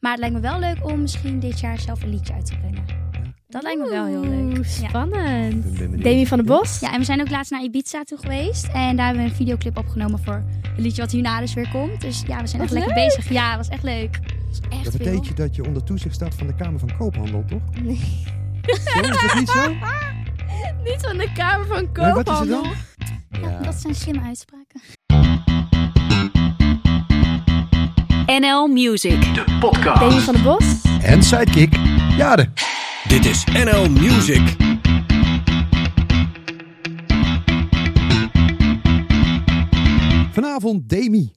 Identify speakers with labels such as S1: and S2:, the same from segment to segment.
S1: Maar het lijkt me wel leuk om misschien dit jaar zelf een liedje uit te brengen. Dat lijkt me wel heel
S2: Oeh,
S1: leuk. Ja.
S2: Spannend.
S3: Ik ben benieuwd.
S2: Demi van den Bos.
S1: Ja, en we zijn ook laatst naar Ibiza toe geweest. En daar hebben we een videoclip opgenomen voor het liedje wat hierna dus weer komt. Dus ja, we zijn echt
S2: Wat
S1: lekker bezig. Ja, dat was echt leuk. Dat was echt
S3: Dat
S1: veel.
S3: betekent dat je onder toezicht staat van de Kamer van Koophandel, toch?
S2: Nee.
S3: Zo, is dat niet zo? Nee,
S2: Niet van de Kamer van
S3: wat is het
S2: Koophandel.
S3: dan?
S1: Ja, dat zijn slimme uitspraken.
S4: NL Music.
S5: De podcast.
S2: Demi van den Bos.
S3: En sidekick, Jaren.
S6: Dit is NL Music.
S3: Vanavond Demi.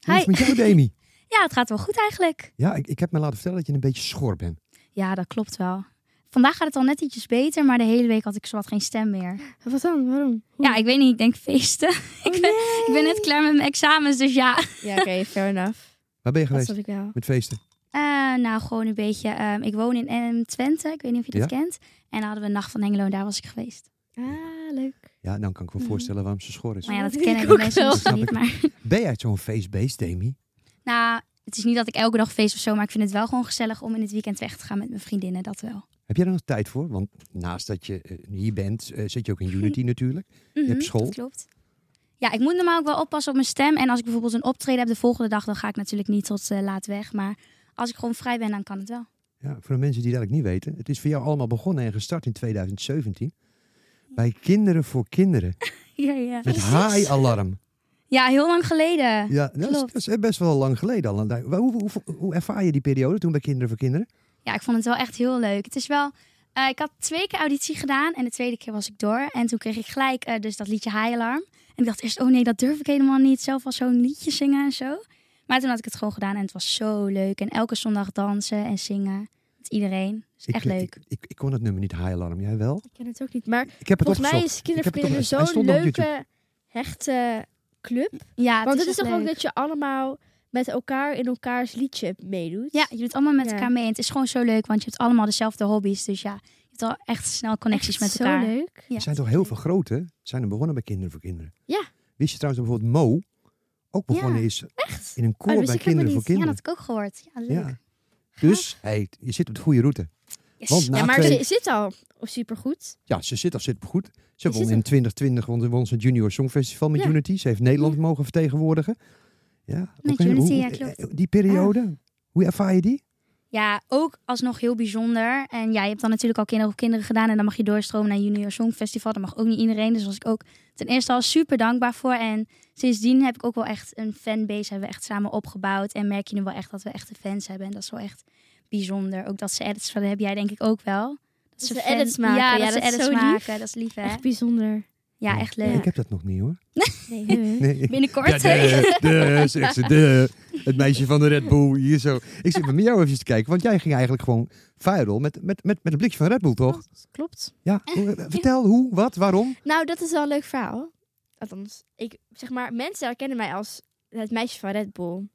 S3: Hoe is het
S1: Hi.
S3: met jou, Demi?
S1: Ja, het gaat wel goed eigenlijk.
S3: Ja, ik, ik heb me laten vertellen dat je een beetje schor bent.
S1: Ja, dat klopt wel. Vandaag gaat het al net ietsjes beter, maar de hele week had ik zowat geen stem meer. Oh,
S2: Wat dan? Waarom?
S1: Ja, ik weet niet, ik denk feesten. ik, ben, ik ben net klaar met mijn examens, dus ja.
S2: Ja, oké, fair enough.
S3: Waar ben je
S2: Dat
S3: geweest?
S2: snap ik wel.
S3: Met feesten.
S1: Eh, nou, gewoon een beetje. ehm, ik woon in ehm, Twente, ik weet niet of je dat kent. En dan hadden we een nacht van Hengelo en daar was ik geweest.
S2: Ah, leuk.
S3: Ja, dan kan ik me voorstellen waarom ze schor is.
S1: Mhm. Maar ja, dat
S2: Ik
S1: kennen
S2: ook
S1: de mensen
S2: wel.
S1: misschien
S3: Snap
S1: niet.
S3: ik.
S1: Maar,
S3: Ben jij zo'n feestbeest, Demi?
S1: nou, het is niet dat ik elke dag feest of zo, maar ik vind het wel gewoon gezellig om in het weekend weg te gaan met mijn vriendinnen, dat wel.
S3: Heb jij er nog tijd voor? Want naast dat je eh, hier bent, eh, zit je ook in Unity natuurlijk.
S1: Mhm,
S3: hebt school.
S1: Dat klopt. Ja, ik moet normaal ook wel oppassen op mijn stem. En als ik bijvoorbeeld een optreden heb de volgende dag, dan ga ik natuurlijk niet tot eh, laat weg. Maar als ik gewoon vrij ben, dan kan het wel.
S3: Ja, voor de mensen die dat eigenlijk niet weten. Het is voor jou allemaal begonnen en gestart in 2017. Bij Kinderen voor Kinderen.
S1: Ja, ja.
S3: Met Haai Alarm.
S1: Ja, heel lang geleden.
S3: Ja, dat is,
S1: Klopt.
S3: dat is best wel lang geleden al. Daar- Hoe, hoe, hoe, hoe ervaar je die periode toen bij Kinderen voor Kinderen?
S1: Ja, ik vond het wel echt heel leuk. Het is wel... eh, ik had twee keer auditie gedaan en de tweede keer was ik door. En toen kreeg ik gelijk eh, dus dat liedje High Alarm. En ik dacht eerst, oh nee, dat durf ik helemaal niet. Zelf al zo'n liedje zingen en zo. Maar toen had ik het gewoon gedaan en het was zo leuk. En elke zondag dansen en zingen met iedereen. Dus
S3: Ik-
S1: echt
S3: ik,
S1: leuk.
S3: Ik, ik, ik kon het nummer niet Haai Alarm. Jij wel?
S2: Ik ken het ook niet. Maar
S3: Ik heb het
S2: volgens mij
S3: opgezocht.
S2: is
S3: Ik heb het
S2: Kindervrienden
S3: opgezocht. Hij
S2: zo'n
S3: stond op YouTube.
S2: leuke, hechte club.
S1: Ja, het
S2: Want het is
S1: echt
S2: toch ook
S1: leuk.
S2: dat je allemaal met elkaar in elkaars liedje meedoet?
S1: Ja, je doet allemaal met
S2: Ja.
S1: elkaar mee. En het is gewoon zo leuk, want je hebt allemaal dezelfde hobby's. Dus ja, je hebt al echt snel connecties
S2: Echt
S1: met elkaar.
S3: Oh,
S2: Zo leuk. Oh,
S1: Ja,
S3: Er zijn toch heel veel grote, zijn er begonnen bij Kinderen voor Kinderen.
S2: Ja.
S3: Wist je trouwens dat bijvoorbeeld Mo ook begonnen
S1: Ja,
S3: is in een koor
S2: Oh, wist
S3: bij Kinderen
S2: ik helemaal
S3: voor
S2: niet.
S1: Ja, dat
S3: Kinderen.
S1: heb ik ook gehoord. Ja, leuk.
S3: Ja. Dus hey, je zit op de goede route.
S1: Yes.
S3: Want na
S2: ja, maar
S3: Nou, twee-
S2: ze zit al supergoed.
S3: Ja, ze zit of zit goed. Ze
S2: Ze
S3: won
S2: zit
S3: in 2020 won, ze- won ze het Junior Songfestival met
S2: Ja.
S3: Unity. Ze heeft Nederland mogen vertegenwoordigen. Ja,
S1: Met
S3: oké. Hoe-
S1: Unity,
S3: hoe-
S1: ja, klopt. Ah.
S3: eh, Die periode, hoe ervaar je die?
S1: Ja, ook alsnog heel bijzonder. En ja, je hebt dan natuurlijk al kinderen op kinderen gedaan. En dan mag je doorstromen naar Junior Songfestival. Dat mag ook niet iedereen. Dus was ik ook ten eerste al super dankbaar voor. En sindsdien heb ik ook wel echt een fanbase. Hebben we echt samen opgebouwd. En merk je nu wel echt dat we echte fans hebben. En dat is wel echt bijzonder. Ook dat ze edits van heb jij denk ik ook wel. Dat
S2: ze
S1: fan-
S2: edits maken.
S1: Ja, dat,
S2: Ja, dat
S1: ze
S2: is
S1: edits
S2: zo lief.
S1: maken. Dat is lief hè.
S2: Echt bijzonder.
S1: Ja, echt
S3: Nee,
S1: leuk.
S3: ik heb dat nog niet hoor.
S2: Nee,
S3: Nee.
S1: Binnenkort.
S3: Ja, de, de, zegt ze, de. Het meisje van de Red Bull, hier zo. Ik zit met jou even te kijken, want jij ging eigenlijk gewoon viral met, met, met, met een blikje van Red Bull, toch?
S2: klopt.
S3: Ja, hoe- eh, vertel hoe, wat, waarom?
S2: Nou, dat is wel een leuk verhaal. Althans, ik, zeg maar, mensen herkennen mij als het meisje van Red Bull.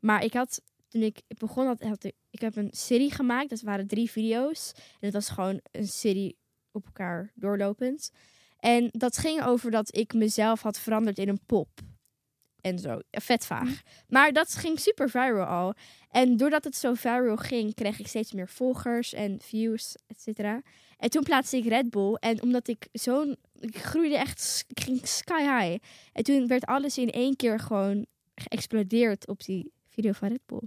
S2: Maar ik had, toen ik begon, had, had ik, ik heb een serie gemaakt. Dat waren drie video's. En dat was gewoon een serie op elkaar doorlopend. En dat ging over dat ik mezelf had veranderd in een pop. En zo, Ja, vet vaag. Maar dat ging super viral al. En doordat het zo viral ging, kreeg ik steeds meer volgers en views, et cetera. En toen plaatste ik Red Bull. En omdat ik zo'n... Ik groeide echt... s- Ik ging sky high. En toen werd alles in één keer gewoon geëxplodeerd op die video van Red Bull.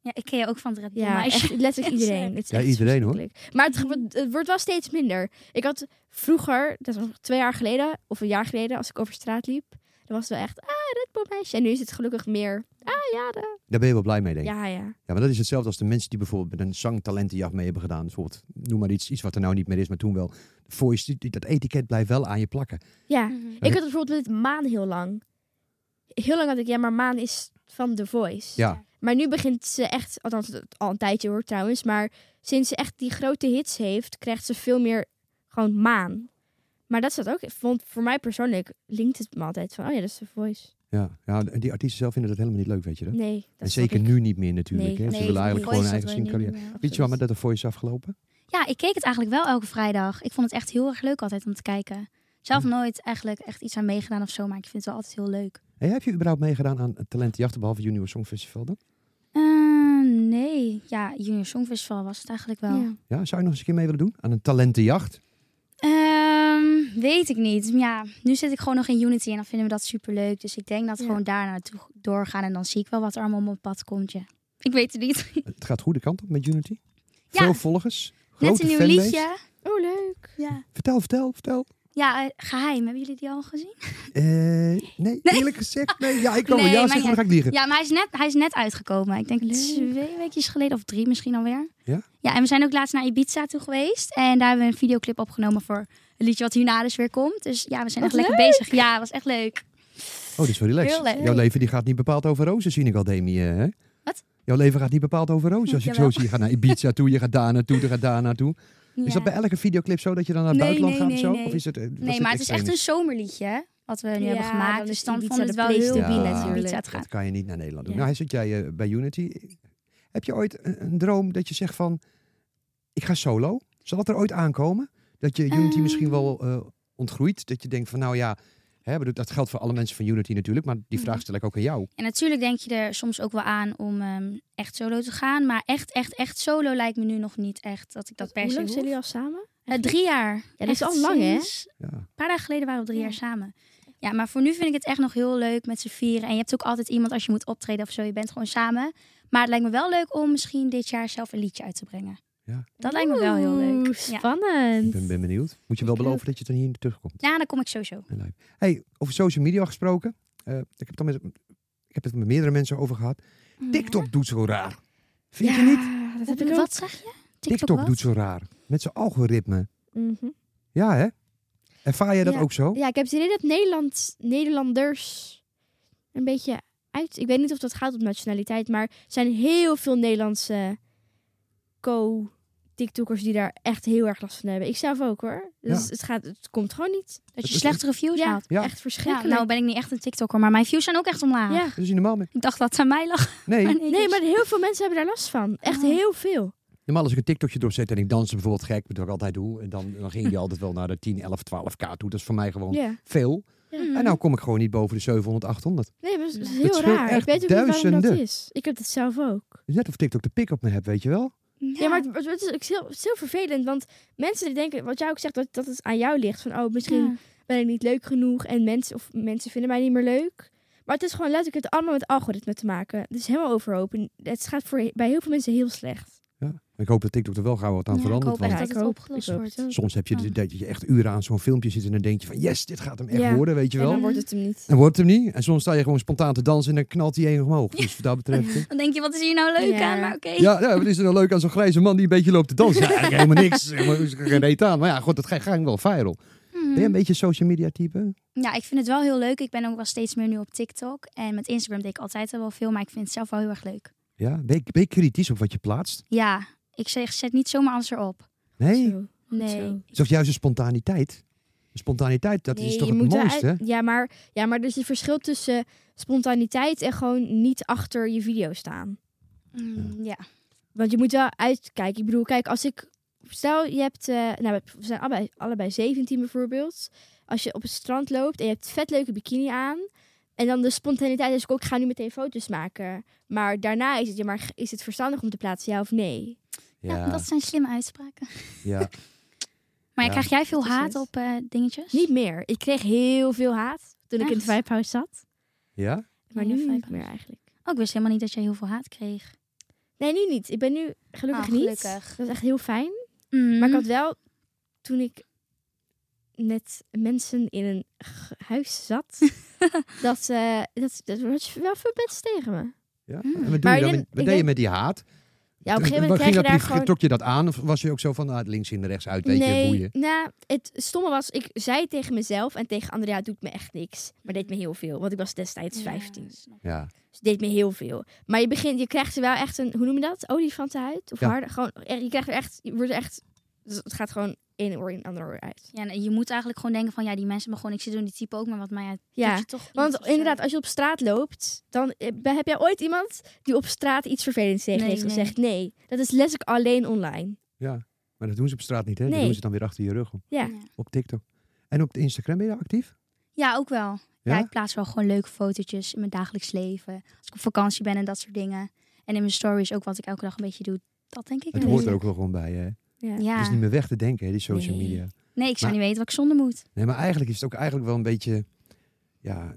S1: Ja, ik ken je ook van het Red Bull
S2: Ja,
S1: meisje.
S2: echt letterlijk
S1: Ja,
S2: iedereen. Het is
S3: Ja,
S2: echt
S3: iedereen, hoor.
S2: verschrikkelijk. Maar het, ge- het wordt wel steeds minder. Ik had vroeger, dat was nog twee jaar geleden, of een jaar geleden, als ik over straat liep, dan was het wel echt, ah, Red Bull meisje. En nu is het gelukkig meer, ah, ja, de-
S3: Daar ben je wel blij mee, denk ik. Ja.
S2: ja, ja.
S3: maar dat is hetzelfde als de mensen die bijvoorbeeld met een zangtalentenjacht mee hebben gedaan. Bijvoorbeeld, noem maar iets, iets wat er nou niet meer is, maar toen wel. Voice, die- die- dat etiket blijft wel aan je plakken.
S2: Ja,
S1: Mhm.
S2: ik had het bijvoorbeeld met Maan heel lang. Heel lang had ik, ja, maar Maan is van The Voice.
S3: Ja,
S2: Maar nu begint ze echt, althans het- al een tijdje hoor trouwens, maar sinds ze echt die grote hits heeft, krijgt ze veel meer gewoon maan. Maar dat staat ook, want voor mij persoonlijk linkt het me altijd van, oh ja, dat is de voice.
S3: ja. ja en die artiesten zelf vinden dat helemaal niet leuk, weet je dat?
S2: Nee, dat
S3: en
S2: snap
S3: zeker
S2: ik.
S3: nu niet meer natuurlijk.
S2: Nee,
S3: hè. Ze
S2: nee,
S3: willen eigenlijk
S1: Voice
S3: gewoon
S1: dat
S3: een eigen
S1: wil je niet
S3: zingcarrière.
S1: meer, absoluut.
S3: Weet je wel, maar dat de voice is afgelopen?
S1: Ja, ik keek het eigenlijk wel elke vrijdag. Ik vond het echt heel erg leuk altijd om te kijken. Zelf
S3: Hm.
S1: nooit eigenlijk echt iets aan meegedaan of zo, maar ik vind het wel altijd heel leuk.
S3: Hey, heb je überhaupt meegedaan aan het Talentjachten, behalve Junior Songfestival dan?
S1: Eh, nee. ja, Junior Songfestival was het eigenlijk wel.
S2: Ja.
S3: Ja, zou je nog eens een keer mee willen doen? Aan een talentenjacht?
S1: Ehm, weet ik niet. Ja, nu zit ik gewoon nog in Unity en dan vinden we dat superleuk. Dus ik denk dat we
S2: Ja.
S1: gewoon daar naartoe doorgaan en dan zie ik wel wat er allemaal op mijn pad komt. Ja. Ik weet het niet.
S3: Het gaat goede kant op met Unity.
S1: Ja.
S3: Veel volgers.
S1: Net
S3: grote
S1: een nieuw
S3: fanbase.
S1: liedje.
S2: Oh, leuk.
S1: Ja,
S3: Vertel, vertel, vertel.
S1: ja eh, geheim. Hebben jullie die al gezien?
S3: Eh, nee, eerlijk gezegd, nee. Ja, ik kan wel
S1: Nee,
S3: ja
S1: maar
S3: zeggen, maar
S1: ja.
S3: dan ga ik liegen.
S1: Ja, maar hij is net, hij is net uitgekomen. Ik denk
S2: Leuk.
S1: twee weekjes geleden of drie misschien alweer.
S3: Ja?
S1: Ja, en we zijn ook laatst naar Ibiza toe geweest. En daar hebben we een videoclip opgenomen voor een liedje wat hierna dus weer komt. Dus ja, we zijn
S2: Wat
S1: echt lekker bezig. Ja, was echt leuk.
S3: Oh, dat is wel
S1: Heel leuk.
S3: relaxed. Jouw leven die gaat niet bepaald over rozen, zie ik al, Demi. eh, Hè?
S1: Wat?
S3: Jouw leven gaat niet bepaald over rozen. Als je het zo
S1: Jawel.
S3: zie, je gaat naar Ibiza toe, je gaat daar naartoe, je gaat daar naartoe.
S1: Ja.
S3: Is dat bij elke videoclip zo dat je dan naar het
S1: Nee,
S3: buitenland
S1: nee,
S3: gaat
S1: nee,
S3: of zo?
S1: nee.
S3: Of is het, eh, was
S1: Nee, maar het is
S3: extra
S1: echt
S3: in?
S1: een zomerliedje hè, wat we nu
S2: Ja,
S1: hebben
S2: dan
S1: gemaakt.
S2: is
S1: Dus dan
S2: Ibiza
S1: vond het
S2: de
S1: wel
S2: place
S1: heel
S3: to
S1: wiel
S3: be
S1: naar
S3: natuurlijk.
S1: Ibiza te gaan.
S3: Dat kan je niet naar Nederland doen.
S2: Ja.
S3: Nou, hij zit jij eh, bij Unity. Heb je ooit een, een droom dat je zegt van, ik ga solo? Zal dat er ooit aankomen? Dat je Unity
S1: Ehm.
S3: misschien wel eh, ontgroeit? Dat je denkt van, nou ja, hè, bedoel, dat geldt voor alle mensen van Unity natuurlijk. Maar die
S1: Mhm.
S3: vraag stel ik ook aan jou.
S1: En natuurlijk denk je er soms ook wel aan om ehm, echt solo te gaan. Maar echt, echt, echt solo lijkt me nu nog niet echt dat ik dat per
S2: Hoe
S1: se
S2: lang zijn
S1: hoef.
S2: jullie al samen?
S1: Eh, drie jaar. Ja,
S2: dat is al lang, hè?
S3: Ja.
S1: Een paar dagen geleden waren we drie
S2: Ja.
S1: jaar samen. Ja, maar voor nu vind ik het echt nog heel leuk met z'n vieren. En je hebt ook altijd iemand als je moet optreden of zo. Je bent gewoon samen. Maar het lijkt me wel leuk om misschien dit jaar zelf een liedje uit te brengen.
S3: Ja.
S1: Dat lijkt me wel heel leuk.
S2: Oeh,
S1: Ja.
S3: Ik
S2: Spannend.
S3: ben, ben benieuwd. Moet je wel
S2: Ik
S1: eh,
S3: beloven
S2: ook.
S3: dat je dan hier terugkomt.
S1: Ja, dan kom ik sowieso.
S3: En leuk. Hey, over social media gesproken. Eh, ik, heb het al met, ik heb het met meerdere mensen over gehad.
S1: Mhm.
S3: TikTok doet zo raar. Vind je niet?
S2: dat
S1: Wat,
S2: heb ik ook.
S1: wat zeg je? TikTok,
S3: TikTok
S1: wat?
S3: doet zo raar. Met zijn algoritme.
S2: Mhm.
S3: Ja, hè? Ervaar jij dat
S2: Ja.
S3: ook zo?
S2: Ja, ik heb het idee dat Nederland, Nederlanders een beetje uit... Ik weet niet of dat gaat op nationaliteit, maar er zijn heel veel Nederlandse co-tiktokkers die daar echt heel erg last van hebben. Ik zelf ook hoor. Dus
S3: Ja.
S2: het, gaat, het komt gewoon niet.
S1: Dat je
S3: is-
S1: slechtere views
S2: Ja,
S1: haalt.
S3: Ja.
S2: echt
S1: Ja,
S2: verschrikkelijk.
S1: nou ben ik niet echt een TikToker, maar mijn views zijn ook echt omlaag.
S2: nou, Ja.
S3: Dat is niet normaal meer.
S1: Ik dacht dat het aan mij lag.
S3: Nee,
S1: Maar
S2: Nee, maar heel veel mensen hebben daar last van. Echt
S1: Oh.
S2: heel veel.
S3: normaal als ik een TikTokje doorzet en ik dans bijvoorbeeld gek, wat ik altijd doe, en dan, dan ging je altijd wel naar de 10, 11, 12k toe. Dat is voor mij gewoon
S2: Ja.
S3: veel.
S1: Mm.
S3: En nou kom ik gewoon niet boven de 700, 800.
S2: Nee, maar dat is
S1: Het
S2: heel
S3: scheelt
S2: raar. Ik
S3: echt
S2: weet ook niet waarom dat
S3: duizenden.
S2: is. Ik heb het zelf ook.
S3: Het is net of TikTok de pik op me hebt, weet je wel?
S2: Ja, maar het, het is ook heel, het is heel vervelend. Want mensen die denken, wat jij ook zegt, dat, dat het aan jou ligt. Van, oh, misschien
S1: Ja.
S3: Nou,
S2: ben ik niet leuk genoeg. En mensen, of mensen vinden mij niet meer leuk. Maar het is gewoon letterlijk het allemaal met algoritme te maken. Het is helemaal overhoop. En het gaat voor, bij heel veel mensen heel slecht.
S3: Ik hoop dat TikTok er wel gauw wat aan
S1: Ja, ik
S3: verandert.
S1: hoop
S3: Want
S1: echt
S2: Ja,
S1: dat
S2: ik
S1: het
S2: ook.
S1: opgelost
S2: Ik ook.
S1: wordt.
S3: soms heb je
S1: Ja.
S2: Ah.
S3: de- dat je echt uren aan zo'n filmpje zit en dan denk je van yes, dit gaat hem echt
S2: Ja.
S3: worden, weet je
S2: En
S3: wel.
S2: dan wordt het hem niet.
S3: En wordt het hem niet. En soms sta je gewoon spontaan te dansen en dan knalt die één omhoog. Dus wat dat betreft... eh,
S1: Dan denk je, wat is hier nou leuk
S2: Ja.
S1: aan? Maar oké.
S3: Ja, ja, wat is er nou leuk aan zo'n grijze man die een beetje loopt te dansen? Ja, eigenlijk helemaal niks. Helemaal is er geen reet aan. Maar ja, god, dat ga- ging wel viral.
S1: Mhm.
S2: Mm.
S3: Ben je een beetje social media type?
S1: Ja, ik vind het wel heel leuk. Ik ben ook wel steeds meer nu op TikTok. En met Instagram deed ik altijd al wel veel, maar ik vind het zelf wel heel erg leuk.
S3: Ja, ben je, ben je kritisch op wat je plaatst?
S1: Ja, ik zeg, zet niet zomaar alles erop.
S3: Nee,
S2: Zo.
S1: Nee.
S2: Zo.
S3: het is toch juist de spontaniteit? De spontaniteit, dat is
S2: Nee,
S3: toch
S2: je
S3: het
S2: moet wel
S3: mooiste?
S2: uit- ja, maar, ja, maar er is een verschil tussen spontaniteit en gewoon niet achter je video staan.
S1: Mm, ja.
S2: Want je moet wel uitkijken. Ik bedoel, kijk, als ik... Stel, je hebt... eh, nou, we zijn allebei, allebei 17 bijvoorbeeld. Als je op het strand loopt en je hebt vet leuke bikini aan. En dan de spontaniteit is ook, ik ga nu meteen foto's maken. Maar daarna is het, ja, maar is het verstandig om te plaatsen, ja of nee?
S1: Ja, dat zijn slimme uitspraken.
S3: ja.
S1: Maar ja,
S3: Ja.
S1: krijg jij veel
S2: Dat is
S1: haat
S2: het.
S1: op eh, dingetjes?
S2: Niet meer. Ik kreeg heel veel haat toen ik in
S1: Echt?
S2: het Vibehouse zat.
S3: ja?
S2: Maar
S1: Ja,
S2: nu niet
S1: Vibehouse.
S2: meer eigenlijk.
S1: Oh, ik wist helemaal niet dat jij heel veel haat kreeg.
S2: Nee, nu niet. Ik ben nu gelukkig,
S1: Ah,
S2: niet.
S1: gelukkig.
S2: Dat is echt heel fijn.
S1: Mm.
S2: Maar ik had wel, toen ik met mensen in een g- huis zat, dat, eh dat, dat was wel veel mensen tegen me.
S3: ja.
S1: Hmm.
S3: En wat doe
S2: Mm. Maar
S3: je dan met,
S2: ik
S3: wat
S2: denk- ik
S3: deed je
S2: denk-
S3: met die haat?
S2: Ja, op een gegeven moment
S3: Ging
S2: krijg je
S3: dat
S2: daar
S3: niet-
S2: gewoon...
S3: Trok je dat aan of was je ook zo van ah, links in, rechts uit, weet je,
S2: Nee,
S3: boeien?
S2: nou, het stomme was, ik zei tegen mezelf en tegen Andrea, het doet me echt niks. Maar het deed me heel veel, want ik was destijds
S1: Ja,
S2: 15. Dus
S1: snap ik.
S3: Ja,
S2: het deed me heel veel. Maar je, begint, je krijgt er wel echt een, hoe noem je dat? Olifantenhuid? Of
S3: Ja.
S2: harder, gewoon, eh, je krijgt er echt, je wordt er echt, het gaat gewoon één oor in het andere oor uit.
S1: Ja, en je moet eigenlijk gewoon denken van, ja, die mensen hebben gewoon, ik zit doen die type ook, maar wat mij uit.
S2: Ja.
S1: doet je toch iets of
S2: Want
S1: zo.
S2: inderdaad, als je op straat loopt, dan eh, ben- heb jij ooit iemand die op straat iets vervelends tegen
S1: Nee,
S2: heeft
S1: nee.
S2: gezegd. Nee, dat is letterlijk alleen online.
S3: ja. Maar dat doen ze op straat niet, hè? Dat
S2: Nee.
S3: doen ze dan weer achter je rug op,
S2: Ja.
S3: op TikTok. En op de Instagram ben je daar actief?
S1: Ja, ook wel. Ja?
S3: Ja?
S1: ik plaats wel gewoon leuke fotootjes in mijn dagelijks leven. Als ik op vakantie ben en dat soort dingen. En in mijn stories ook wat ik elke dag een beetje doe. Dat denk ik.
S3: Het
S1: een
S3: hoort er
S1: beetje.
S3: ook wel gewoon bij, hè?
S2: Ja.
S1: Ja.
S3: Het is niet meer weg te denken, hè, die social
S2: Nee.
S3: media.
S1: Nee, ik zou
S3: Maar-
S1: niet weten wat ik zonder moet.
S3: Nee, maar eigenlijk is het ook eigenlijk wel een beetje ja,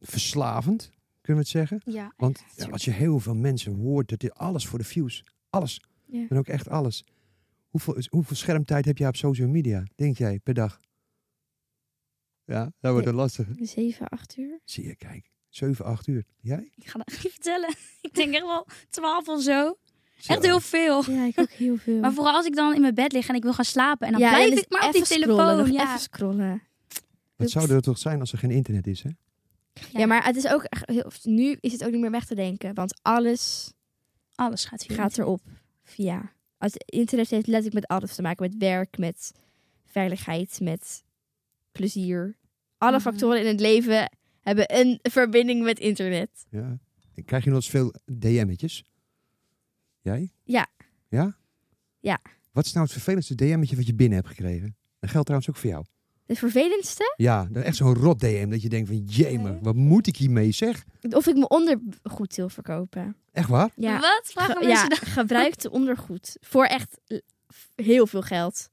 S3: verslavend, kunnen we het zeggen.
S1: Ja.
S3: Want ja, als je heel veel mensen hoort, dat is alles voor de views. Alles.
S2: Ja.
S3: En ook echt alles. Hoeveel, hoeveel schermtijd heb jij op social media, denk jij, per dag? Ja, dat wordt een lastige.
S2: Zeven, acht uur.
S3: Zie je, kijk. 7, 8 uur. Jij?
S1: Ik ga dat niet vertellen. ik denk echt wel 12 of zo.
S3: Zo.
S1: Echt heel veel.
S2: Ja, ik ook heel veel.
S1: Maar vooral als ik dan in mijn bed lig en ik wil gaan slapen. En dan blijf
S2: en
S1: ik maar op die
S2: dus even scrollen,
S1: telefoon.
S2: nog
S1: Ja.
S2: Even scrollen.
S3: Wat zou dus- er toch zijn als er geen internet is, hè?
S2: Ja. maar het is ook echt heel, nu is het ook niet meer weg te denken, want alles
S1: Alles gaat via.
S2: gaat erop via. Als internet heeft letterlijk met alles te maken, met werk, met veiligheid, met plezier. Alle
S1: Mhm.
S2: factoren in het leven hebben een verbinding met internet.
S3: Ja. En Krijg je nog eens veel DM'tjes? Jij?
S2: Ja.
S3: Ja?
S2: Ja.
S3: Wat is nou het vervelendste DM'tje wat je binnen hebt gekregen? Dat geldt trouwens ook voor jou.
S2: Het vervelendste,
S3: Ja, dan echt zo'n rot DM dat je denkt van, jemer, wat moet ik hiermee zeg?
S2: of ik mijn ondergoed wil verkopen.
S3: Echt waar?
S2: Ja.
S1: Wat? Vragen
S2: Ge-
S1: mensen
S2: ja,
S1: dat?
S2: gebruikte ondergoed voor echt l- heel veel geld.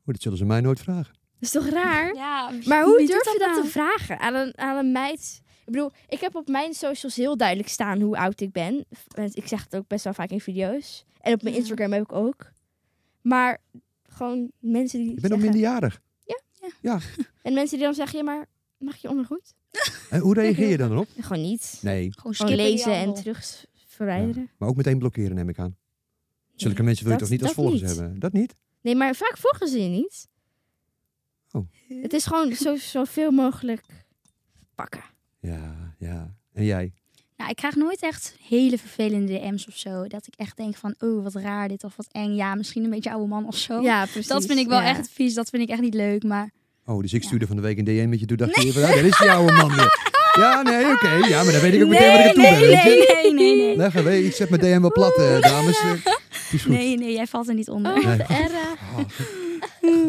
S3: Oh, dat zullen ze mij nooit vragen.
S2: Dat is toch raar?
S1: Ja,
S2: Maar hoe
S1: wie doet
S2: durf je dat
S1: nou?
S2: te vragen aan een, aan een meid? Ik bedoel, ik heb op mijn socials heel duidelijk staan hoe oud ik ben. Want Ik zeg het ook best wel vaak in video's. En op mijn
S1: Ja.
S2: Instagram heb ik ook. Maar gewoon mensen die
S3: Je bent nog
S2: zeggen-
S3: minderjarig.
S2: En mensen die dan zeggen, ja maar mag je ondergoed?
S3: En Eh, hoe reageer je dan erop?
S2: Gewoon niet.
S3: Nee,
S1: Gewoon
S2: Gewoon
S1: skippen die
S2: lezen en
S1: handel.
S2: terug s- verwijderen.
S3: maar ook meteen blokkeren neem ik aan. Zulke mensen wil je
S2: dat-
S3: toch niet als
S2: dat
S3: volgers
S2: niet.
S3: hebben? Dat niet?
S2: Nee, maar vaak volgen ze je niet.
S3: Oh.
S2: Het is gewoon zo- zoveel mogelijk pakken.
S3: Ja, ja. En jij?
S1: Nou, ik krijg nooit echt hele vervelende DM's of zo. Dat ik echt denk van, oh, wat raar dit of wat eng. Ja, misschien een beetje oude man of zo. Dus
S2: Ja, precies.
S1: dat vind ik wel
S2: Ja.
S1: echt vies. Dat vind ik echt niet leuk. Maar
S3: Oh, dus ik stuurde van de week een DM met je. Toen dacht je even, ah, daar is die oude man weer. Ja, nee, oké. Ja, maar dan weet ik ook meteen waar ik
S1: nee,
S3: naartoe ben.
S1: nee,
S3: weet je?
S1: nee, nee, nee, nee.
S3: Leg away. Ik zet mijn DM wel plat, eh, dames. Eh, het is goed.
S1: Nee, nee, jij valt er niet onder.
S2: Oh,
S3: Nee.
S2: wat erg.
S3: Ah,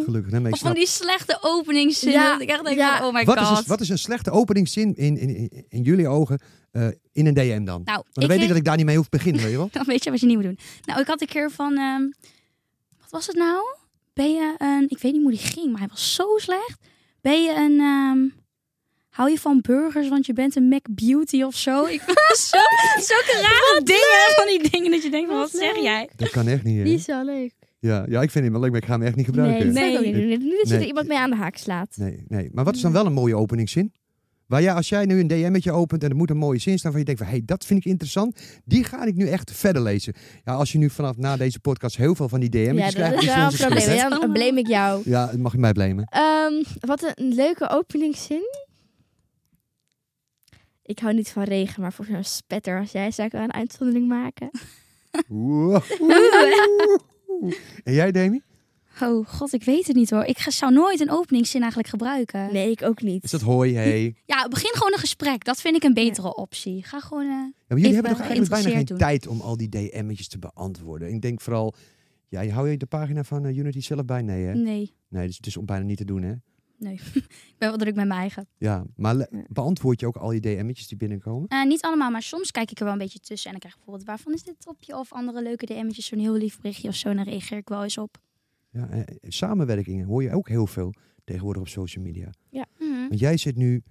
S3: gelukkig. Nee, maar ik
S1: Of van
S3: snap.
S1: die slechte openingszin.
S2: Ja,
S1: dat ik echt denk
S2: ja.
S1: van, oh my
S3: Wat is,
S1: god.
S3: een, wat is een slechte openingszin in, in, in, in jullie ogen eh, in een DM dan? Want
S1: Nou,
S3: dan weet
S1: ik
S3: ik
S1: kreeg-
S3: dat ik daar niet mee hoef te beginnen, weet je wel?
S1: Dan weet je wat je niet moet doen. Nou, ik had een keer van... ehm, wat was het nou? Ben je een... Ik weet niet hoe die ging, maar hij was zo slecht. Ben je een... ehm, hou je van burgers, want je bent een Mac Beauty of zo? Ik was zo, zulke rare dingen van die dingen dat je denkt van, wat
S2: Wat
S1: zeg
S2: leuk.
S1: jij?
S3: Dat kan echt niet, hè?
S2: Die is wel leuk.
S3: Ja, ja, ik vind hem wel leuk, maar ik ga hem echt niet gebruiken.
S2: Nee,
S1: Nee.
S2: nee. Dat zou ik ook niet doen. Niet dat je
S3: Nee.
S2: er iemand mee aan de haak slaat.
S3: Nee, nee. Maar wat is dan wel een mooie openingszin? Waar jij, als jij nu een DM met je opent en er moet een mooie zin staan van je denkt van hé, hey, dat vind ik interessant. Die ga ik nu echt verder lezen. Ja, als je nu vanaf na deze podcast heel veel van die DM'tjes
S2: Ja,
S3: krijgt,
S2: dat is
S3: onze
S2: wel een
S3: schuld,
S2: probleem.
S3: hè?
S2: Ja, dan blame ik jou.
S3: Ja, mag je mij blamen.
S2: Ehm, wat een leuke openingszin. Ik hou niet van regen, maar voor zo'n spetter als jij zou ik wel een uitzondering maken.
S3: Oeh. en jij, Demi?
S1: Oh god, ik weet het niet hoor. Ik ga- zou nooit een openingszin eigenlijk gebruiken.
S2: Nee, ik ook niet.
S3: Is dat hoi, hey? Ja,
S1: Ja, begin gewoon een gesprek. Dat vind ik een betere optie. Ga gewoon... eh,
S3: maar jullie
S1: Ik ben
S3: hebben toch eigenlijk bijna geen
S1: geïnteresseerd doen.
S3: tijd om al die DM'tjes te beantwoorden. Ik denk vooral, ja, je hou je de pagina van eh, Unity zelf bij? Nee,
S2: Mm.
S3: hè?
S1: nee,
S3: Nee, dus het is om bijna niet te doen, hè?
S1: ik ben wel druk met mijn eigen.
S3: Ja, maar le-
S2: Ja.
S3: beantwoord je ook al je DM'tjes die binnenkomen?
S1: Eh, niet allemaal, maar soms kijk ik er wel een beetje tussen. En dan krijg ik bijvoorbeeld, waarvan is dit topje? Of andere leuke DM'tjes, zo'n heel lief berichtje of zo. En dan reageer ik wel eens op.
S3: Ja, eh, samenwerkingen hoor je ook heel veel tegenwoordig op social media.
S1: Mhm.
S3: Want jij zit nu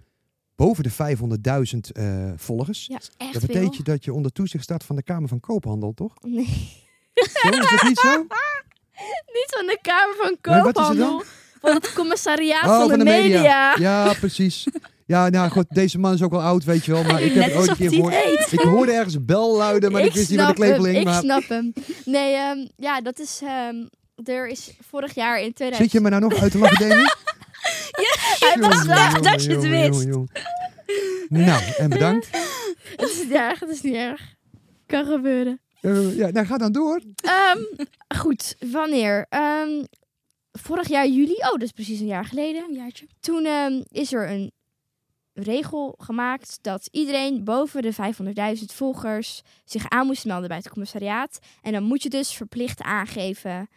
S3: boven de 500.000 eh, volgers.
S2: Ja,
S1: Echt
S3: dat
S1: veel.
S3: betekent dat je onder toezicht staat van de Kamer van Koophandel, toch?
S2: Nee.
S3: Zo, is dat niet zo?
S2: Niet van de Kamer van
S3: Nee, wat is het dan?
S2: Koophandel. Van het commissariaat
S3: Oh,
S2: van, de media.
S3: Ja, precies. Ja, nou goed, deze man is ook wel oud, weet je wel. Maar ik heb
S1: Net
S3: het ooit
S1: alsof
S3: een keer
S1: hij het
S3: gehoord.
S1: weet.
S3: Ik hoorde ergens een bel luiden, maar ik, wist niet wat de
S2: snap hem,
S3: klepeling.
S2: Ik
S3: Maar...
S2: snap hem. Nee, ehm, ja, dat is... ehm, er is vorig jaar in 2000...
S3: Zit je me nou nog uit te lachen, Demi?
S2: Hij was
S3: Jongen,
S2: daar.
S3: jongen,
S1: dat je het
S3: jongen,
S1: wist.
S3: jongen, jongen. Nou, en bedankt.
S2: Het is niet erg, het is niet erg. Kan gebeuren.
S3: Eh, ja, nou, ga dan door.
S2: Ehm, goed, wanneer? Ehm, vorig jaar juli, oh, dus precies een jaar geleden.
S1: Een jaartje.
S2: Toen ehm, is er een regel gemaakt dat iedereen boven de 500.000 volgers zich aan moest melden bij het commissariaat. En dan moet je dus verplicht aangeven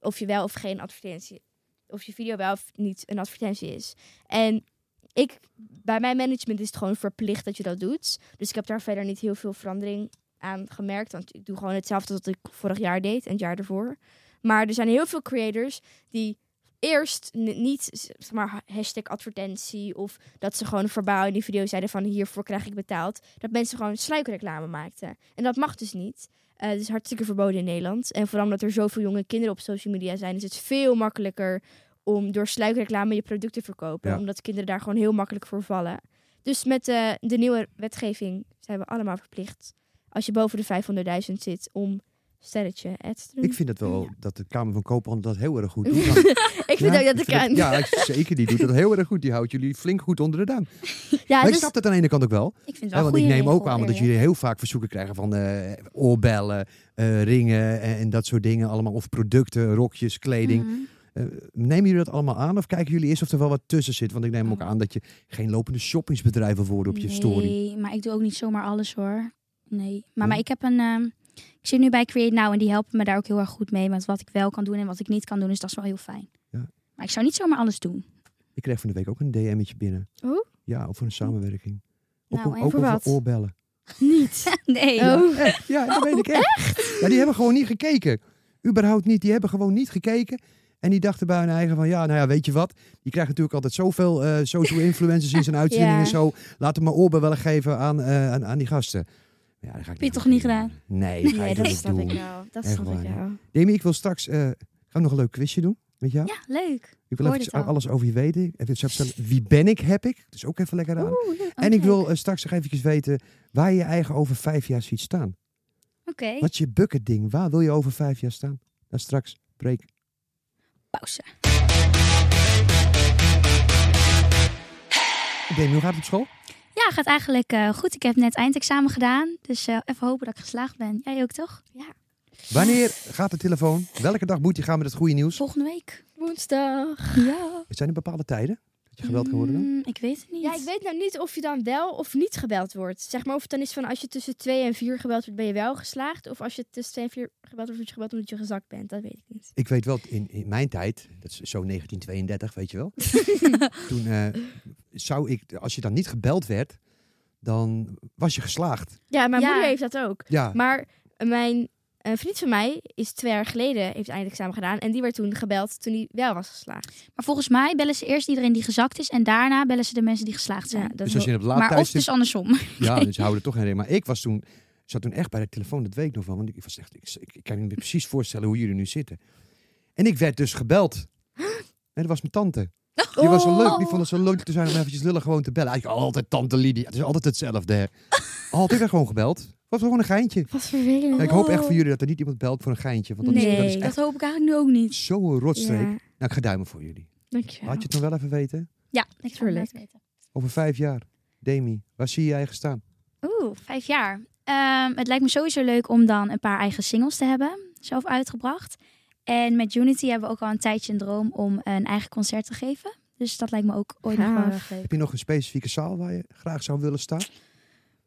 S2: of je wel of geen advertentie, of je video wel of niet een advertentie is. En ik, bij mijn management is het gewoon verplicht dat je dat doet. Dus ik heb daar verder niet heel veel verandering aan gemerkt. Want ik doe gewoon hetzelfde wat ik vorig jaar deed en het jaar ervoor. Maar er zijn heel veel creators die eerst n- niet, z- zeg maar, hashtag advertentie... of dat ze gewoon verbaal in die video zeiden van hiervoor krijg ik betaald. Dat mensen gewoon sluikreclame maakten. En dat mag dus niet. Eh het is hartstikke verboden in Nederland. En vooral omdat er zoveel jonge kinderen op social media zijn... is het veel makkelijker om door sluikreclame je producten te verkopen.
S3: Ja.
S2: Omdat kinderen daar gewoon heel makkelijk voor vallen. Dus met eh, de nieuwe wetgeving zijn we allemaal verplicht... als je boven de 500.000 zit om sterretje ads te doen.
S3: Ik vind dat wel dat de Kamer van Koophandel dat heel erg goed doet.
S2: Ik
S3: Ja,
S2: Ik vind ook dat ik
S3: vind
S2: kan.
S3: Ja, zeker. Die doet dat heel erg goed. Die houdt jullie flink goed onder de duim.
S2: Ja,
S3: maar
S2: dus-
S3: ik snap dat aan de ene kant ook wel.
S1: Ik vind het
S3: Hè,
S1: wel
S3: want
S1: een
S3: ik
S1: goede
S3: neem ook
S1: regel,
S3: aan dat
S1: eerlijk.
S3: jullie heel vaak verzoeken krijgen van eh, oorbellen, eh, ringen en, en dat soort dingen allemaal. Of producten, rokjes, kleding.
S1: Mhm.
S3: Eh, nemen jullie dat allemaal aan of kijken jullie eerst of er wel wat tussen zit? Want ik neem ook aan dat je geen lopende shoppingsbedrijf wil worden op je
S1: nee,
S3: story.
S1: maar ik doe ook niet zomaar alles hoor. Nee. Maar, maar
S3: Ja.
S1: ik heb een. ehm, ik zit nu bij Create Now en die helpen me daar ook heel erg goed mee. Met wat ik wel kan doen en wat ik niet kan doen. Dus dat is wel heel fijn.
S3: Ja.
S1: Maar ik zou niet zomaar alles doen.
S3: Ik kreeg van de week ook een DM'tje binnen.
S2: Oh?
S3: Ja, over een samenwerking. Ook
S1: Nou,
S3: o-
S1: en
S3: ook
S1: voor
S3: over
S2: wat?
S3: oorbellen.
S2: niet.
S1: Nee.
S2: Oh.
S3: Ja, dat weet ik echt. Ja, die hebben gewoon niet gekeken. Überhaupt niet. Die hebben gewoon niet gekeken. En die dachten bij hun eigen van, ja, nou ja, weet je wat? Die krijgt natuurlijk altijd zoveel eh, social influencers in zijn uitzending
S2: Ja.
S3: en zo. Laat hem maar oorbellen geven aan, eh, aan, aan die gasten. Ja, dat ga ik
S1: Heb je
S3: niet
S1: toch
S3: doen.
S1: niet gedaan?
S3: Nee, dat ga
S2: Nee,
S3: ik
S2: dat
S3: niet
S2: snap ik
S3: doen.
S2: wel. Dat
S3: Echt
S2: snap ik
S3: waar, hè?
S2: wel.
S3: Demi, ik wil straks... eh, gaan we nog een leuk quizje doen met jou?
S1: Ja, leuk.
S3: ik wil
S1: hoorde
S3: even
S1: het al.
S3: alles over je weten. Even zelf vertellen, wie ben ik, heb ik. Dus ook even lekker aan. en ik
S1: Oké.
S3: wil eh, straks nog eventjes weten waar je je eigen over vijf jaar ziet staan.
S1: Oké,
S3: Wat is je bucketding? Waar wil je over vijf jaar staan? Dan straks, break.
S1: pauze.
S3: Demi, hoe gaat het op school?
S1: Ja, gaat eigenlijk eh, goed. Ik heb net eindexamen gedaan. Dus eh, even hopen dat ik geslaagd ben. Jij ook toch?
S3: Wanneer gaat de telefoon? Welke dag moet je gaan met het goede nieuws?
S1: Volgende week.
S2: Woensdag.
S1: Ja.
S3: Zijn er bepaalde tijden dat je gebeld kan worden dan?
S1: Mm, ik weet het niet.
S2: Ja, ik weet nou niet of je dan wel of niet gebeld wordt. Zeg maar of het dan is van als je tussen 2 en 4 gebeld wordt, ben je wel geslaagd. Of als je tussen 2 en 4 gebeld wordt, word je gebeld omdat je gezakt bent. Dat weet ik niet.
S3: Ik weet wel, in, in mijn tijd, dat is zo 1932, weet je wel. Toen eh, zou ik, als je dan niet gebeld werd, dan was je geslaagd.
S2: Ja, mijn
S1: Ja.
S2: moeder heeft dat ook.
S3: Ja,
S2: Maar mijn eh, vriend van mij is twee jaar geleden, heeft eindexamen gedaan. En die werd toen gebeld toen hij wel was geslaagd.
S1: Maar volgens mij bellen ze eerst iedereen die gezakt is. En daarna bellen ze de mensen die geslaagd zijn.
S2: Ja, dat
S3: dus als je in het laat
S1: maar
S3: thuis
S1: of
S3: zit,
S1: dus andersom.
S3: ja, dus houden er toch geen reden. Maar ik was toen, zat toen echt bij de telefoon, dat weet ik nog wel. Want ik was echt, ik, ik, ik kan me niet meer precies voorstellen hoe jullie nu zitten. En ik werd dus gebeld. En dat was mijn tante. Die was zo leuk. Die vond het zo leuk te zijn om eventjes lullen gewoon te bellen. Eigenlijk altijd tante Lydia. Het is altijd hetzelfde. hè. Altijd weer gewoon gebeld. Was gewoon een geintje.
S2: Wat vervelend.
S3: Ja, ik hoop echt voor jullie dat er niet iemand belt voor een geintje. Want dat is, dat is
S2: Nee.
S1: Oh. Dat
S3: dus echt
S1: hoop ik eigenlijk nu ook niet.
S3: zo'n rotstreek.
S2: Ja,
S3: Nou, ik ga duimen voor jullie.
S2: dankjewel.
S3: Laat je het nog wel even weten.
S1: Ja, ik
S2: Tuurlijk.
S3: Over vijf jaar. Demi, waar zie je je eigen staan?
S1: Oeh, vijf jaar. Ehm, het lijkt me sowieso leuk om dan een paar eigen singles te hebben, zelf uitgebracht. En met Unity hebben we ook al een tijdje een droom om een eigen concert te geven. Dus dat lijkt me ook ooit nog wel
S2: Gaaf.
S1: erg leuk.
S3: Heb je nog een specifieke zaal waar je graag zou willen staan?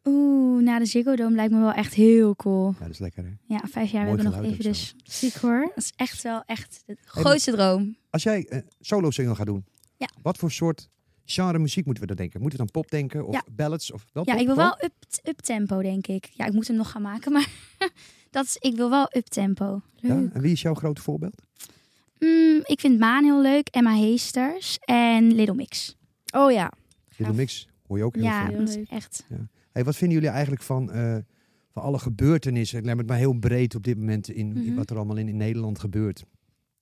S1: Oeh, na de Ziggo Dome lijkt me wel echt heel cool.
S3: Ja, dat is lekker hè.
S1: Ja, vijf jaar
S3: Mooi
S1: hebben we nog
S3: geluid
S1: even,
S3: ook
S1: dus ziek hoor. Dat is echt wel echt de
S3: maar-
S1: grootste droom.
S3: Als jij een solo single gaat doen.
S1: Ja.
S3: Wat voor soort genre muziek moeten we dan denken? Moeten we dan pop denken? Of
S1: Ja.
S3: ballads? Of wel
S1: Ja,
S3: pop
S1: ik wil
S3: gewoon?
S1: wel up, up tempo, denk ik. Ja, ik moet hem nog gaan maken, maar dat is, ik wil wel up tempo.
S3: Ja? En wie is jouw grote voorbeeld?
S1: Mm, ik vind Maan heel leuk, Emma Heesters en Little Mix.
S2: Oh ja.
S3: Little Mix hoor je ook heel
S1: Ja,
S3: veel.
S1: dat is echt.
S3: Hey, wat vinden jullie eigenlijk van, eh, van alle gebeurtenissen? Ik neem het maar heel breed op dit moment in, in
S1: Mhm.
S3: wat er allemaal in, in Nederland gebeurt.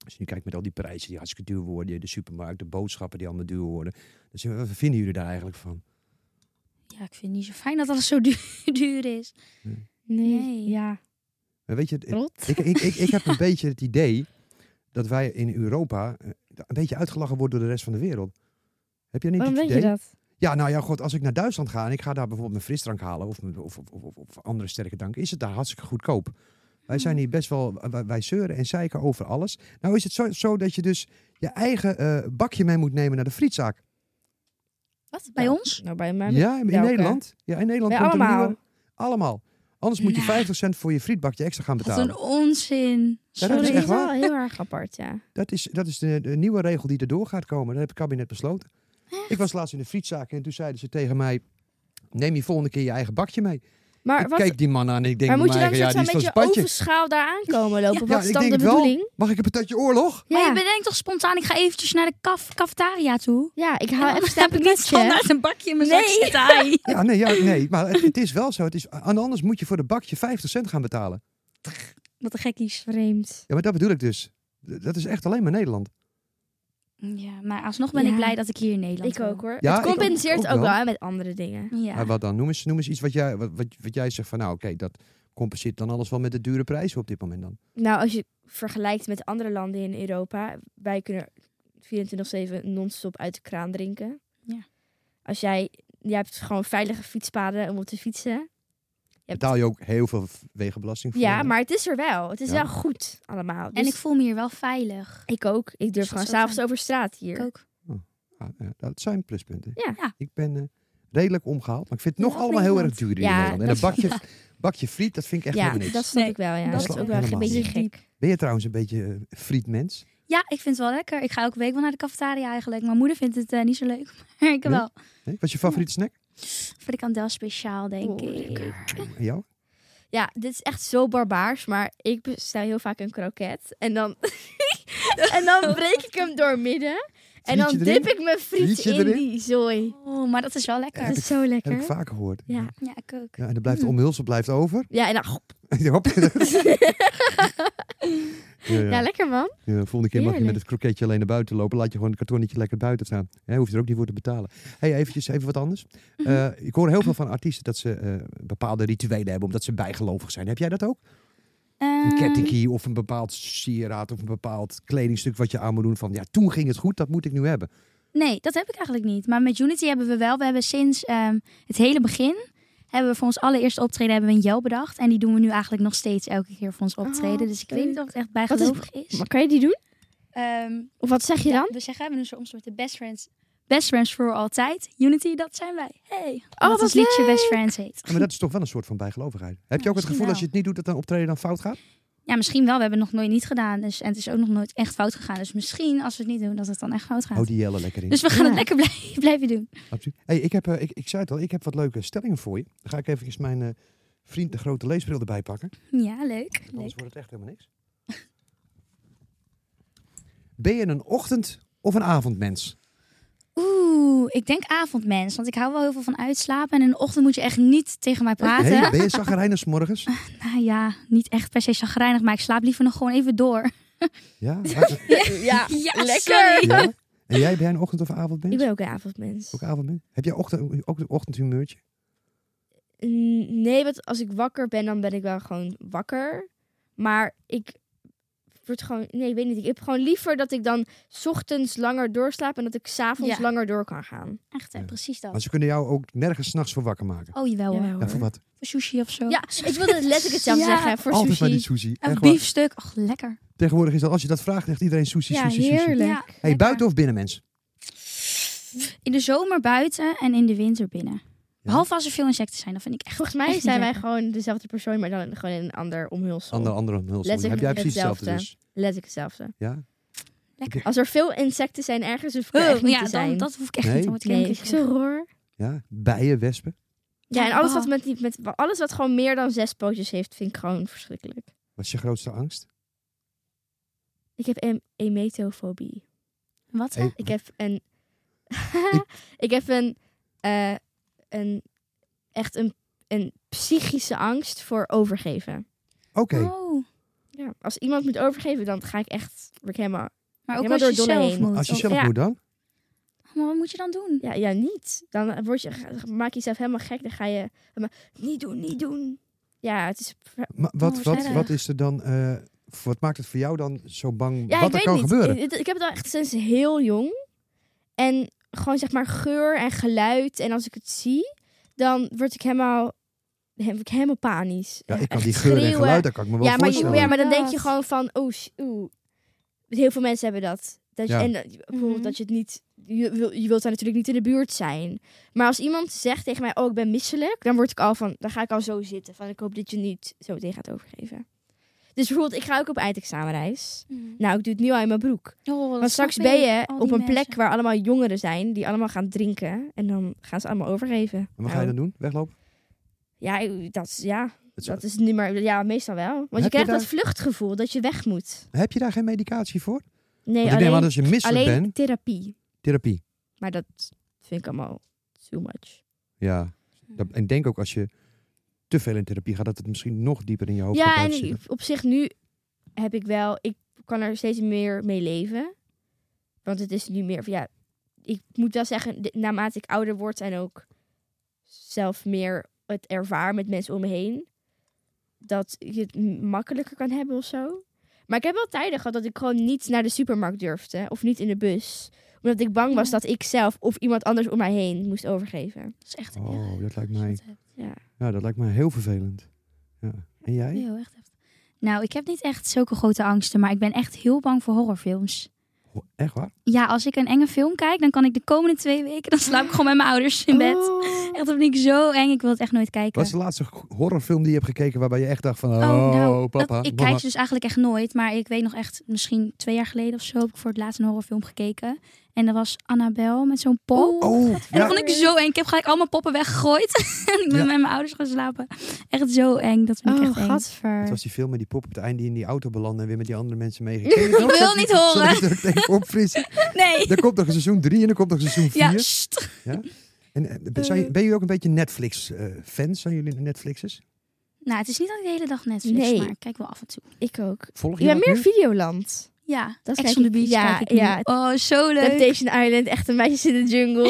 S3: Als je nu kijkt met al die prijzen die hartstikke duur worden, de supermarkt, de boodschappen die allemaal duur worden. Dus eh, wat vinden jullie daar eigenlijk van?
S1: Ja, ik vind het niet zo fijn dat alles zo duur, duur is.
S2: Nee.
S1: Nee.
S2: Ja.
S3: Maar weet je, het-
S2: Rot.
S3: ik, ik, ik, ik heb een beetje het idee dat wij in Europa eh, een beetje uitgelachen worden door de rest van de wereld. Heb jij niet
S2: Waarom
S3: het
S2: weet
S3: idee?
S2: je dat?
S3: Ja, nou ja, god, als ik naar Duitsland ga en ik ga daar bijvoorbeeld mijn frisdrank halen of, mijn- of, of, of, of andere sterke drank, is het daar hartstikke goedkoop. Wij zijn hier best wel, wij, wij zeuren en zeiken over alles. Nou is het zo, zo dat je dus je eigen eh, bakje mee moet nemen naar de frietzaak.
S1: Wat? Bij
S2: Ja.
S1: ons?
S2: Nou, bij mij.
S3: Ja, in
S2: welke?
S3: Nederland. Ja, in Nederland.
S2: Bij
S3: komt er
S2: allemaal.
S3: nieuwe- allemaal. Anders moet je 50 cent voor je frietbakje extra gaan
S1: Wat
S3: betalen.
S1: een onzin.
S3: Ja,
S1: Sorry.
S3: dat is echt waar.
S2: wel heel erg apart, ja.
S3: Dat is, dat is de, de nieuwe regel die erdoor gaat komen. Dat heeft het kabinet besloten. Ik was laatst in de frietzaak en toen zeiden ze tegen mij... Neem je volgende keer je eigen bakje mee.
S2: Maar,
S3: ik
S2: wat,
S3: kijk die man aan en ik denk...
S2: maar
S3: bij
S2: moet je dan
S3: mij,
S2: zo'n
S3: ja, die
S2: een
S3: is van
S2: beetje
S3: zijn padje.
S2: overschaal daar aankomen lopen?
S3: Ja,
S2: wat is
S3: ik
S2: dan de
S3: denk wel.
S2: bedoorling?
S3: Mag ik een patatje oorlog?
S1: Maar je
S2: Ja.
S1: bedenkt toch spontaan, ik ga eventjes naar de caf cafetaria toe.
S2: ja, ik
S1: Dan
S2: haal even
S1: heb
S2: snel
S1: ik
S2: een
S1: niet
S2: patatje.
S1: standaard een bakje in mijn zak
S2: Nee.
S1: zitten. Ai.
S3: Ja, nee, ja, nee maar het, het is wel zo. Het is, aan- anders moet je voor de bakje 50 cent gaan betalen.
S1: Wat een gekkies.
S2: Vreemd.
S3: Ja, maar dat bedoel ik dus. D- Dat is echt alleen maar Nederland.
S1: Ja, maar alsnog ben ik
S2: Ja.
S1: blij dat ik hier in Nederland
S2: Ik ook hoor.
S3: Ja,
S2: het
S3: ik ook-
S2: compenseert
S3: ook
S2: ook,
S3: wel.
S2: wel. hè, met andere dingen.
S1: hoor. Ja.
S3: Maar wat dan? Noem eens, noem eens iets wat jij, wat, wat, wat jij zegt van... Nou, oké, dat compenseert dan alles wel met de dure prijzen op dit moment dan.
S2: Nou, als je vergelijkt met andere landen in Europa, wij kunnen 24-7 non-stop uit de kraan drinken.
S1: Ja.
S2: Als jij, jij hebt gewoon veilige fietspaden om op te fietsen. Je hebt-
S3: Betaal je ook heel veel v- wegenbelasting voor?
S2: ja, maar het is er wel. Het is
S3: Ja.
S2: wel goed allemaal.
S1: En
S2: Dus
S1: ik voel me hier wel veilig.
S2: ik ook. Ik durf
S1: dat
S2: gewoon
S1: is wel
S2: s'avonds
S1: fijn.
S2: over straat
S1: Ik
S2: hier.
S1: ook.
S3: Ah, ja, dat zijn pluspunten.
S2: Ja.
S1: Ja.
S3: Ik ben eh, redelijk omgehaald. Maar ik vind het nog
S1: Ja,
S3: allemaal heel erg
S1: Nederland.
S3: duur in
S2: Ja,
S3: Nederland. En
S2: dat
S3: dat bakje, bakje friet, dat vind ik echt
S2: ja,
S3: helemaal niks.
S2: dat snap
S1: Nee,
S2: ik wel. Ja.
S1: dat
S2: Dat,
S1: snap
S2: is
S3: ik
S2: ook wel echt een
S3: helemaal
S2: beetje
S1: niet.
S2: gek.
S3: Ben je trouwens een beetje eh, frietmens?
S1: Ja, ik vind het wel lekker. Ik ga elke week wel naar de cafetaria eigenlijk. Mijn moeder vindt het eh, niet zo leuk. Maar ik heb
S3: Nee?
S1: wel
S3: Nee? Wat is je favoriete snack?
S1: frikandel speciaal, denk
S2: Oh,
S1: ik.
S3: En jou?
S2: Ja, dit is echt zo barbaars, maar ik bestel heel vaak een kroket. En dan, en dan breek ik hem door midden. En dan
S3: Frietje
S2: dip
S3: erin?
S2: ik mijn friet
S3: Frietje
S2: in
S3: erin?
S2: die zooi.
S1: Oh, maar dat is wel lekker.
S2: Dat is zo
S3: Heb ik
S2: lekker.
S3: vaker gehoord.
S2: Ja. Mm.
S1: Ja, ik ook.
S3: Ja, en dan blijft de omhulsel blijft over.
S2: Ja, en dan, hop.
S3: Hop. ja,
S2: ja.
S3: ja.
S2: lekker man.
S3: Ja, volgende keer mag je met
S2: Heerlijk.
S3: het kroketje alleen naar buiten lopen. Laat je gewoon het kartonnetje lekker buiten staan. Hè, hoef je er ook niet voor te betalen. hey, eventjes even wat anders.
S2: Mhm.
S3: Eh, ik hoor heel veel van artiesten dat ze eh, bepaalde rituelen hebben omdat ze bijgelovig zijn. Heb jij dat ook? Een
S2: Eh.
S1: Ehm,
S3: kettingkie of een bepaald sieraad of een bepaald kledingstuk wat je aan moet doen. Van ja, toen ging het goed, dat moet ik nu hebben.
S1: Nee, dat heb ik eigenlijk niet. Maar met Unity hebben we wel. We hebben sinds ehm, het hele begin. Hebben we voor ons allereerste optreden hebben we een jel bedacht. En die doen we nu eigenlijk nog steeds elke keer voor ons optreden.
S2: Oh,
S1: dus ik
S2: leuk.
S1: weet niet of het echt bijgelovig is.
S2: Maar kan je die doen?
S1: Ehm,
S2: Of wat zeg je
S1: ja,
S2: dan?
S1: we zeggen, we doen zo'n soort de best friends. Best friends voor altijd. Unity, dat zijn wij. Hey.
S2: Oh,
S1: dat
S2: wat
S1: ons liedje
S2: leuk.
S1: best friends heet.
S3: Ja, maar dat is toch wel een soort van bijgelovigheid. Heb je ook het
S1: misschien
S3: gevoel als
S1: wel.
S3: je het niet doet dat een optreden dan fout gaat?
S1: Ja, misschien wel. We hebben het nog nooit niet gedaan. Dus, en het is ook nog nooit echt fout gegaan. Dus misschien als we het niet doen, dat het dan echt fout gaat.
S3: Hou Oh, die jellen lekker in.
S1: Dus we gaan het
S2: Ja.
S1: lekker blij- blijven doen.
S3: Absoluut. Hey, ik, heb, eh, ik, ik zei het al, ik heb wat leuke stellingen voor je. Dan ga ik even mijn eh, vriend de grote leesbril erbij pakken.
S1: Ja, leuk. leuk.
S3: Anders wordt het echt helemaal niks. Ben je een ochtend- of een avondmens?
S1: Oeh, ik denk avondmens. Want ik hou wel heel veel van uitslapen. En in de ochtend moet je echt niet tegen mij praten.
S3: Nee, ben je zagrijnig 's morgens?
S1: Nou ja, niet echt per se chagrijnig. Maar ik slaap liever nog gewoon even door.
S3: Ja, maar-
S2: Ja, lekker.
S3: ja. En jij, ben jij een ochtend- of avondmens?
S2: Ik ben ook een avondmens.
S3: Ook avondmens? Heb jij ochtend, ook een ochtendhumeurtje?
S2: Mm, Nee, want als ik wakker ben, dan ben ik wel gewoon wakker. Maar ik word gewoon... Nee, ik weet niet. Ik heb gewoon liever dat ik dan 's ochtends langer doorslaap... en dat ik s'avonds
S1: Ja.
S2: langer door kan gaan.
S1: Echt, hè,
S3: Ja.
S1: precies dat.
S3: Maar ze kunnen jou ook nergens s'nachts voor wakker maken.
S1: Oh, jawel hoor.
S3: Ja,
S2: Jawel,
S3: voor
S2: hoor.
S3: wat?
S1: Voor sushi of zo.
S2: Ja, ik wilde het letterlijk hetzelfde
S1: Oh. Ja.
S2: zeggen. Voor
S3: Altijd maar die
S2: sushi.
S3: sushi.
S1: Een
S3: Echt waar.
S1: biefstuk. Och, lekker.
S3: Tegenwoordig is dat, als je dat vraagt, echt iedereen sushi,
S2: Ja,
S3: sushi, sushi.
S2: heerlijk.
S1: Ja,
S3: Hey,
S1: lekker.
S3: buiten of binnen, mens?
S1: In de zomer buiten en in de winter binnen. Behalve als er veel insecten zijn. Dan vind ik echt...
S2: Volgens
S1: Echt
S2: mij
S1: niet
S2: zijn wij
S1: lekker.
S2: gewoon dezelfde persoon... maar dan gewoon in een ander omhulsel.
S3: Andere, andere omhulsel.
S2: Letterlijk
S3: Heb jij precies hetzelfde
S2: hetzelfde.
S3: dus?
S2: Letterlijk hetzelfde.
S3: Ja?
S2: Als er veel insecten zijn ergens, hoef ik er echt
S1: Oh,
S2: niet
S1: ja,
S2: te zijn.
S1: dan, dat hoef ik echt
S3: Nee.
S1: niet. Dan word ik
S2: nee,
S1: helemaal
S2: vind ik zo
S1: kriegelig.
S2: roor.
S3: ja? Bijen, wespen?
S2: Ja, en
S1: Ja, ah.
S2: alles
S1: bah.
S2: wat, met, die- met, alles wat gewoon meer dan zes pootjes heeft, vind ik gewoon verschrikkelijk.
S3: Wat is je grootste angst?
S2: Ik heb em- emetofobie.
S1: Wat? hè?
S3: Hey,
S2: Ik heb een... ik heb een, eh, een... Echt een, een psychische angst voor overgeven.
S3: Oké.
S1: Oh,
S2: Ja, als iemand moet overgeven, dan ga ik echt... Word ik helemaal...
S1: maar ook
S2: Ja, maar
S1: als je
S2: door het dolle
S1: zelf
S2: heen.
S1: moet.
S3: Als je
S1: Oh,
S3: zelf
S2: ja.
S3: moet dan?
S1: Maar wat moet je dan doen?
S2: Ja, ja niet. Dan word je, maak je jezelf helemaal gek. Dan ga je... helemaal, niet doen, niet doen. Ja, het is...
S3: Maar wat,
S1: Oh,
S3: wat,
S1: verder.
S3: wat is er dan... eh, wat maakt het voor jou dan zo bang?
S2: Ja,
S3: wat
S2: ik
S3: er
S2: weet
S3: kan
S2: niet.
S3: gebeuren?
S2: Ik, ik heb het al echt sinds heel jong. En gewoon zeg maar geur en geluid. En als ik het zie, dan word ik helemaal, he- word ik helemaal panisch.
S3: ja, ik kan
S2: echt
S3: die geur en
S2: schreeuwen.
S3: geluid, daar kan ik me wel
S2: Ja maar, je-
S3: voorstellen.
S2: ja, maar dan denk je
S1: Inderdaad.
S2: gewoon van, oeh, sh- oeh. Heel veel mensen hebben dat. dat je,
S3: Ja.
S2: En dat, bijvoorbeeld
S1: Mhm.
S2: dat je het niet... Je, wil- je wilt daar natuurlijk niet in de buurt zijn. Maar als iemand zegt tegen mij, oh, ik ben misselijk. Dan word ik al van, dan ga ik al zo zitten. Van, ik hoop dat je niet zo meteen gaat overgeven. Dus bijvoorbeeld, ik ga ook op eindexamenreis. Nou, ik doe het nu al in mijn broek.
S1: Mm. Oh, dat
S2: Want straks
S1: snap
S2: ben
S1: ik.
S2: je
S1: Al die
S2: op een
S1: mensen.
S2: plek waar allemaal jongeren zijn die allemaal gaan drinken. En dan gaan ze allemaal overgeven.
S3: En wat ga je
S2: Nou,
S3: dan doen? Weglopen?
S2: Ja, ik- dat is, ja,
S3: Dat is-
S2: dat is niet maar. Ja, meestal wel. Want je
S3: je
S2: krijgt dat
S3: daar-
S2: vluchtgevoel dat je weg moet.
S3: Heb je daar geen medicatie voor?
S2: Nee,
S3: Want ik neem
S2: alleen,
S3: aan dat als je misselijk
S2: alleen
S3: bent,
S2: therapie.
S3: therapie.
S2: Maar dat vind ik allemaal too much.
S3: Ja.
S2: Hmm.
S3: Dat- en denk ook als je te veel in therapie gaat, dat het misschien nog dieper in je hoofd gaat
S2: ja, en
S3: blijven zitten.
S2: op zich nu heb ik wel... Ik kan er steeds meer mee leven. Want het is nu meer... Ja, ik moet wel zeggen, de- naarmate ik ouder word en ook zelf meer het ervaar met mensen om me heen, dat je het m- makkelijker kan hebben of zo. Maar ik heb wel tijden gehad dat ik gewoon niet naar de supermarkt durfde of niet in de bus. Omdat ik bang was
S1: Ja.
S2: dat ik zelf of iemand anders om mij heen moest overgeven.
S1: Dat is echt
S3: Oh,
S1: erg
S3: dat lijkt
S1: als je
S3: mij-
S1: dat hebt.
S2: Ja.
S3: Ja, dat lijkt me heel vervelend. Ja. En jij?
S1: Heel echt heftig. Nou, ik heb niet echt zulke grote angsten, maar ik ben echt heel bang voor horrorfilms.
S3: Oh, echt waar?
S1: Ja, als ik een enge film kijk, dan kan ik de komende twee weken, dan slaap ik gewoon met mijn ouders in bed.
S2: Oh.
S1: Echt, dat vind ik zo eng. Ik wil het echt nooit kijken.
S3: Wat is de laatste go- horrorfilm die je hebt gekeken waarbij je echt dacht van, oh,
S1: nou,
S3: papa,
S1: dat- ik
S3: mama.
S1: kijk ze dus eigenlijk echt nooit. Maar ik weet nog echt, misschien twee jaar geleden of zo, heb ik voor het laatst een horrorfilm gekeken. En dat was Annabel met zo'n pop.
S3: Oh,
S1: En
S3: ja.
S1: dat vond ik zo eng. Ik heb gelijk al mijn poppen weggegooid. en ik ben
S3: Ja.
S1: met mijn ouders gaan slapen. Echt zo eng. Dat vind ik echt eng.
S2: Oh, gadver.
S3: Het was die film met die pop op het einde die in die auto belandde en weer met die andere mensen meeging. Ik
S1: wil niet horen.
S3: Zal ik het even opfrissen?
S1: Nee.
S3: Er komt nog een seizoen 3 en er komt nog een seizoen 4.
S1: Ja, sst.
S3: En eh, ben- zijn, ben jullie ook een beetje Netflix-fans? zijn jullie Netflixers?
S1: Nou, het is niet dat ik de hele dag Netflix,
S2: Nee.
S1: maar ik kijk wel af en toe.
S2: Ik ook.
S3: Volg je
S2: Je bent
S3: dat
S2: meer
S3: nu?
S2: Videoland.
S1: Ja,
S2: Dat
S1: dat
S2: kijk
S1: Ex on the
S2: ik-
S1: Beach
S2: ja,
S1: kijk ik nu.
S2: ja.
S1: Oh, zo leuk.
S2: Temptation Island, echt een meisjes in de jungle.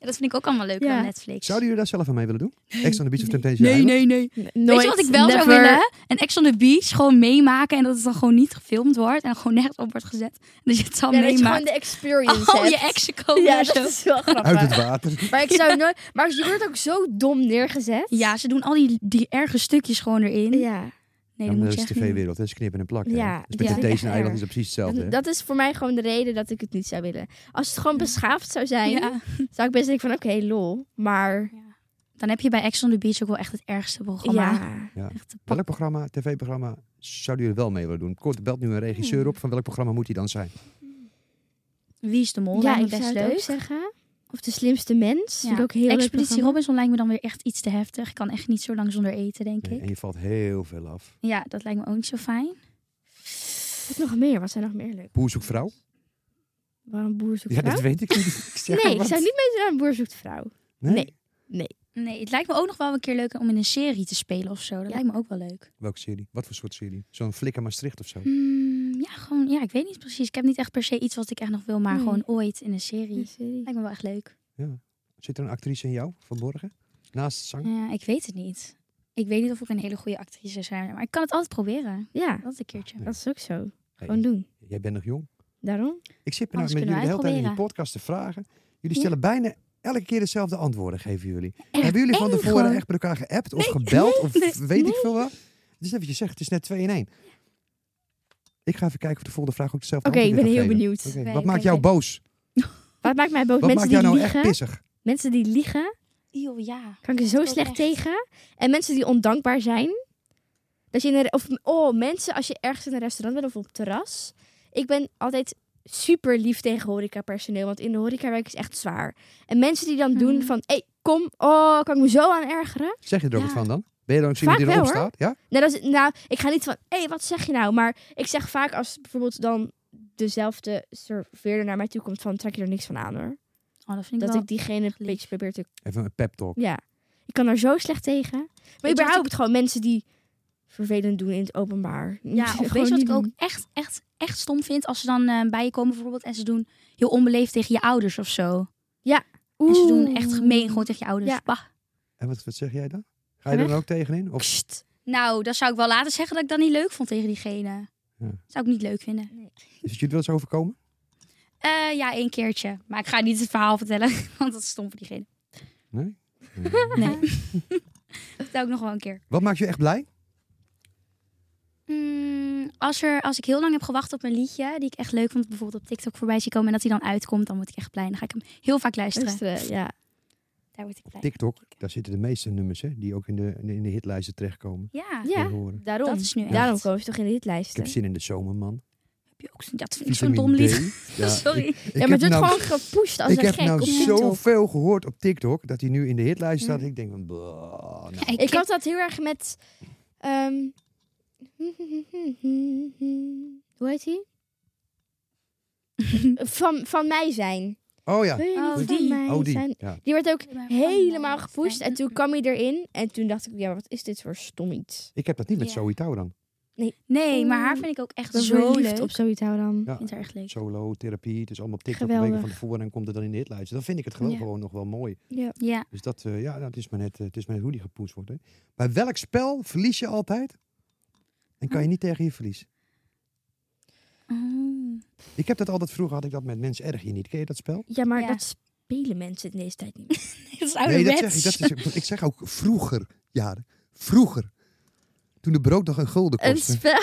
S1: Ja, dat vind ik ook allemaal leuk
S2: Ja.
S1: aan Netflix.
S3: Zouden jullie daar zelf aan mee willen doen? Ex on the Beach of Temptation
S1: Nee,
S3: Island?
S1: nee, nee.
S2: Nooit,
S1: Weet je wat ik wel zou
S2: never.
S1: willen? Een Ex on the Beach gewoon meemaken en dat het dan gewoon niet gefilmd wordt en er gewoon nergens op wordt gezet. Dat je het dan
S2: Ja, dat je gewoon
S1: meemaakt.
S2: de experience
S1: oh, je
S2: hebt.
S1: exen komen
S2: Ja,
S1: en
S2: dat
S1: zo.
S2: is wel
S3: Uit het
S2: grappig.
S3: water.
S2: Maar ik zou nooit... Maar je wordt ook zo dom neergezet.
S1: Ja, ze doen al die, die erge stukjes gewoon erin.
S2: Ja.
S1: Nee,
S3: Ja,
S1: dat
S3: maar
S1: moet
S3: dat
S1: je
S3: is
S1: echt
S3: de
S1: niet doen.
S3: tv-wereld, hè? Ze knippen en plakken.
S2: Ja,
S3: Ja, dus met
S1: ja.
S3: Temptation
S2: Echt
S3: Island
S2: erg.
S3: is het precies hetzelfde. hè?
S2: Dat, dat is voor mij gewoon de reden dat ik het niet zou willen. Als het gewoon beschaafd zou zijn,
S1: Ja.
S2: zou ik best denken van oké, lol. Maar
S1: Dan heb je bij Ex on the Beach ook wel echt het ergste programma.
S2: ja.
S1: Echt de
S3: Welk programma, tv-programma, zouden jullie wel mee willen doen? Kort, belt nu een
S1: Hmm.
S3: regisseur op van welk programma moet hij dan zijn?
S1: Wie is de mol?
S2: ja,
S1: lijkt me
S2: ik
S1: best
S2: zou het
S1: leuk.
S2: ook zeggen. Of de slimste mens. Vind ik ook heel leuk
S1: Expeditie
S2: programma.
S1: Robinson lijkt me dan weer echt iets te heftig. Ik kan echt niet zo lang zonder eten, denk
S3: Nee,
S1: ik.
S3: en je valt heel veel af.
S1: Ja, dat lijkt me ook niet zo fijn.
S2: Wat nog meer? Wat zijn nog meer leuk?
S3: Boer zoekt vrouw?
S2: Waarom boer zoekt
S3: Ja,
S2: vrouw?
S3: dat weet ik niet. Ik zeg
S2: nee,
S3: maar
S2: ik
S3: wat.
S2: zou niet meedoen aan boer zoekt vrouw. nee.
S1: Nee, het lijkt me ook nog wel een keer leuk om in een serie te spelen of zo. Dat
S2: Ja.
S1: lijkt me ook wel leuk.
S3: Welke serie? Wat voor soort serie? Zo'n Flikker Maastricht of zo?
S1: Hmm, ja, gewoon, ja, ik weet niet precies. Ik heb niet echt per se iets wat ik echt nog wil, maar
S2: Nee.
S1: gewoon ooit in een serie.
S2: serie.
S1: Lijkt me wel echt leuk.
S3: Zit er een actrice in jou vanmorgen? Naast zang?
S1: Ja, ik weet het niet. Ik weet niet of ik een hele goede actrice zou zijn, maar ik kan het altijd proberen.
S2: Ja,
S1: Dat een keertje.
S3: Ja.
S2: dat is ook zo.
S3: Hey,
S2: Gewoon doen.
S3: jij bent nog jong.
S2: Daarom?
S3: Ik zit me nou
S1: Anders
S3: met jullie
S1: kunnen
S3: de
S1: wij
S3: hele tijd in die
S1: proberen.
S3: podcast te vragen. Jullie
S1: Ja.
S3: stellen bijna elke keer dezelfde antwoorden, geven jullie.
S1: Echt
S3: Hebben jullie van
S1: eng
S3: tevoren
S1: gewoon.
S3: echt met elkaar geappt of gebeld of
S1: nee,
S3: weet ik veel wat? Het is net wat je zegt, het is net 2 in 1. Ik ga even kijken of de volgende vraag ook dezelfde
S2: Oké, ik ben
S3: antwoord weer
S2: heel
S3: gaat geven.
S2: benieuwd.
S3: Oké,
S1: Nee,
S3: wat
S1: ik
S3: maakt
S1: ben
S3: jou
S1: heel-
S3: boos?
S2: Wat maakt mij boos?
S3: Wat
S2: mensen
S3: maakt jou
S2: die
S3: nou
S2: liegen.
S3: echt pissig?
S2: Mensen die liegen,
S1: Eeuw, ja.
S2: kan ik er
S1: Dat
S2: zo
S1: is ook
S2: slecht
S1: echt.
S2: tegen. En mensen die ondankbaar zijn. Dat je in een, of, oh, mensen, als je ergens in een restaurant bent of op het terras. Ik ben altijd super lief tegen horecapersoneel, want in de horeca werk is echt zwaar. En mensen die dan doen
S1: Mhm.
S2: van, hé, hey, kom, oh, kan ik me zo aan ergeren.
S3: Zeg je er ook
S1: Ja.
S3: wat van dan? Ben je dan ook zo
S2: Vaak
S3: iemand die erop
S2: wel, hoor.
S3: staat? Ja?
S2: Nou, dat is, nou, ik ga niet van, hé, hey, wat zeg je nou? Maar ik zeg vaak als bijvoorbeeld dan dezelfde serveerder naar mij toe komt van, trek je er niks van aan hoor.
S1: Oh, dat vind ik
S2: dat
S1: wel.
S2: ik diegene een
S1: lief.
S2: beetje probeer te
S3: Even een pep talk.
S2: Ja. Ik kan er zo slecht tegen. Maar
S1: Weet je wat
S2: überhaupt gewoon mensen die vervelend doen in het openbaar.
S1: Ja, of weet je wat ik ook echt, echt, echt stom vind? Als ze dan eh, bij je komen bijvoorbeeld en ze doen heel onbeleefd tegen je ouders of zo. En ze doen echt gemeen gewoon tegen je ouders.
S2: Ja.
S1: Bah.
S3: En wat, wat zeg jij dan? Ga
S2: Ga
S3: je er
S2: weg.
S3: dan ook tegenin? Of
S1: Nou, dat zou ik wel laten zeggen dat ik dat niet leuk vond tegen diegene.
S3: Ja.
S1: Zou ik niet leuk vinden.
S3: is het jullie wel eens overkomen?
S1: Eh, ja, één keertje. Maar ik ga niet het verhaal vertellen, want dat is stom voor diegene.
S3: Nee?
S1: Nee. Vertel ik nog wel een keer.
S3: Wat maakt je echt blij?
S1: Mm, als, er, als ik heel lang heb gewacht op een liedje die ik echt leuk vond, bijvoorbeeld op TikTok voorbij zie komen en dat hij dan uitkomt, dan word ik echt blij. Dan ga ik hem heel vaak luisteren.
S2: luisteren. Ja.
S1: Daar word ik blij.
S3: TikTok, daar zitten de meeste nummers, hè, die ook in de, in de- in de hitlijsten terechtkomen.
S1: Ja,
S2: Ja,
S3: tegenwoordig.
S2: daarom.
S1: dat is nu echt.
S2: Daarom komen ze toch in de
S3: Ik
S2: hitlijsten.
S3: heb zin in de zomer, man.
S1: Heb je ook zin- Ja, dat vind ik zo'n
S3: Vitamine
S1: dom lied.
S3: D. Ja,
S1: Sorry.
S3: ik- ik
S2: ja, maar
S3: heb
S2: het wordt
S3: nou-
S2: gewoon gepusht als
S3: Ik
S2: een
S3: heb
S2: gek
S3: nou
S2: op TikTok.
S3: zoveel gehoord op TikTok dat hij nu in de hitlijst staat. Ik denk van, bah, nou.
S1: Ja, ik,
S2: Ik
S1: heb-
S2: had dat heel erg met... ehm, hoe heet hij? van, van mij zijn.
S3: Oh ja,
S2: Wil je
S1: Oh,
S2: niet
S1: die.
S2: van mij
S3: oh die.
S2: zijn?
S3: Ja.
S2: Die werd ook
S1: Van mij
S2: helemaal
S1: zijn.
S2: gepusht. En toen kwam hij erin. En toen dacht ik, ja, wat is dit voor stom iets?
S3: Ik heb dat niet met
S1: Ja.
S3: Zoe Touw dan.
S1: Nee, maar haar vind ik ook echt
S2: Ik ben
S1: zo
S2: verliefd
S1: leuk.
S2: op zoiets dan.
S1: Ik vind haar echt leuk.
S3: Solo, therapie, het is allemaal op TikTok
S2: Geweldig.
S3: weken van tevoren en komt het dan in de hitlijst. Dan vind ik het gewoon,
S1: Ja.
S3: gewoon nog wel mooi.
S2: Ja.
S1: Ja.
S3: Dus dat, eh, ja, nou, het, is maar net, eh, het is maar net hoe die gepoest wordt. Hè. Bij welk spel verlies je altijd en
S2: Hm.
S3: kan je niet tegen je verlies?
S1: Oh.
S3: Ik heb dat altijd vroeger, had ik dat met mensen erg hier niet. Ken je dat spel?
S2: Ja, maar
S1: Ja.
S2: dat spelen mensen in deze tijd niet meer.
S1: Dat is
S3: Nee, dat
S1: ouderwets.
S3: zeg ik. Dat is, ik zeg ook vroeger, jaren. Vroeger. Toen de brood nog een gulden
S2: Een
S3: kostte.
S2: spel.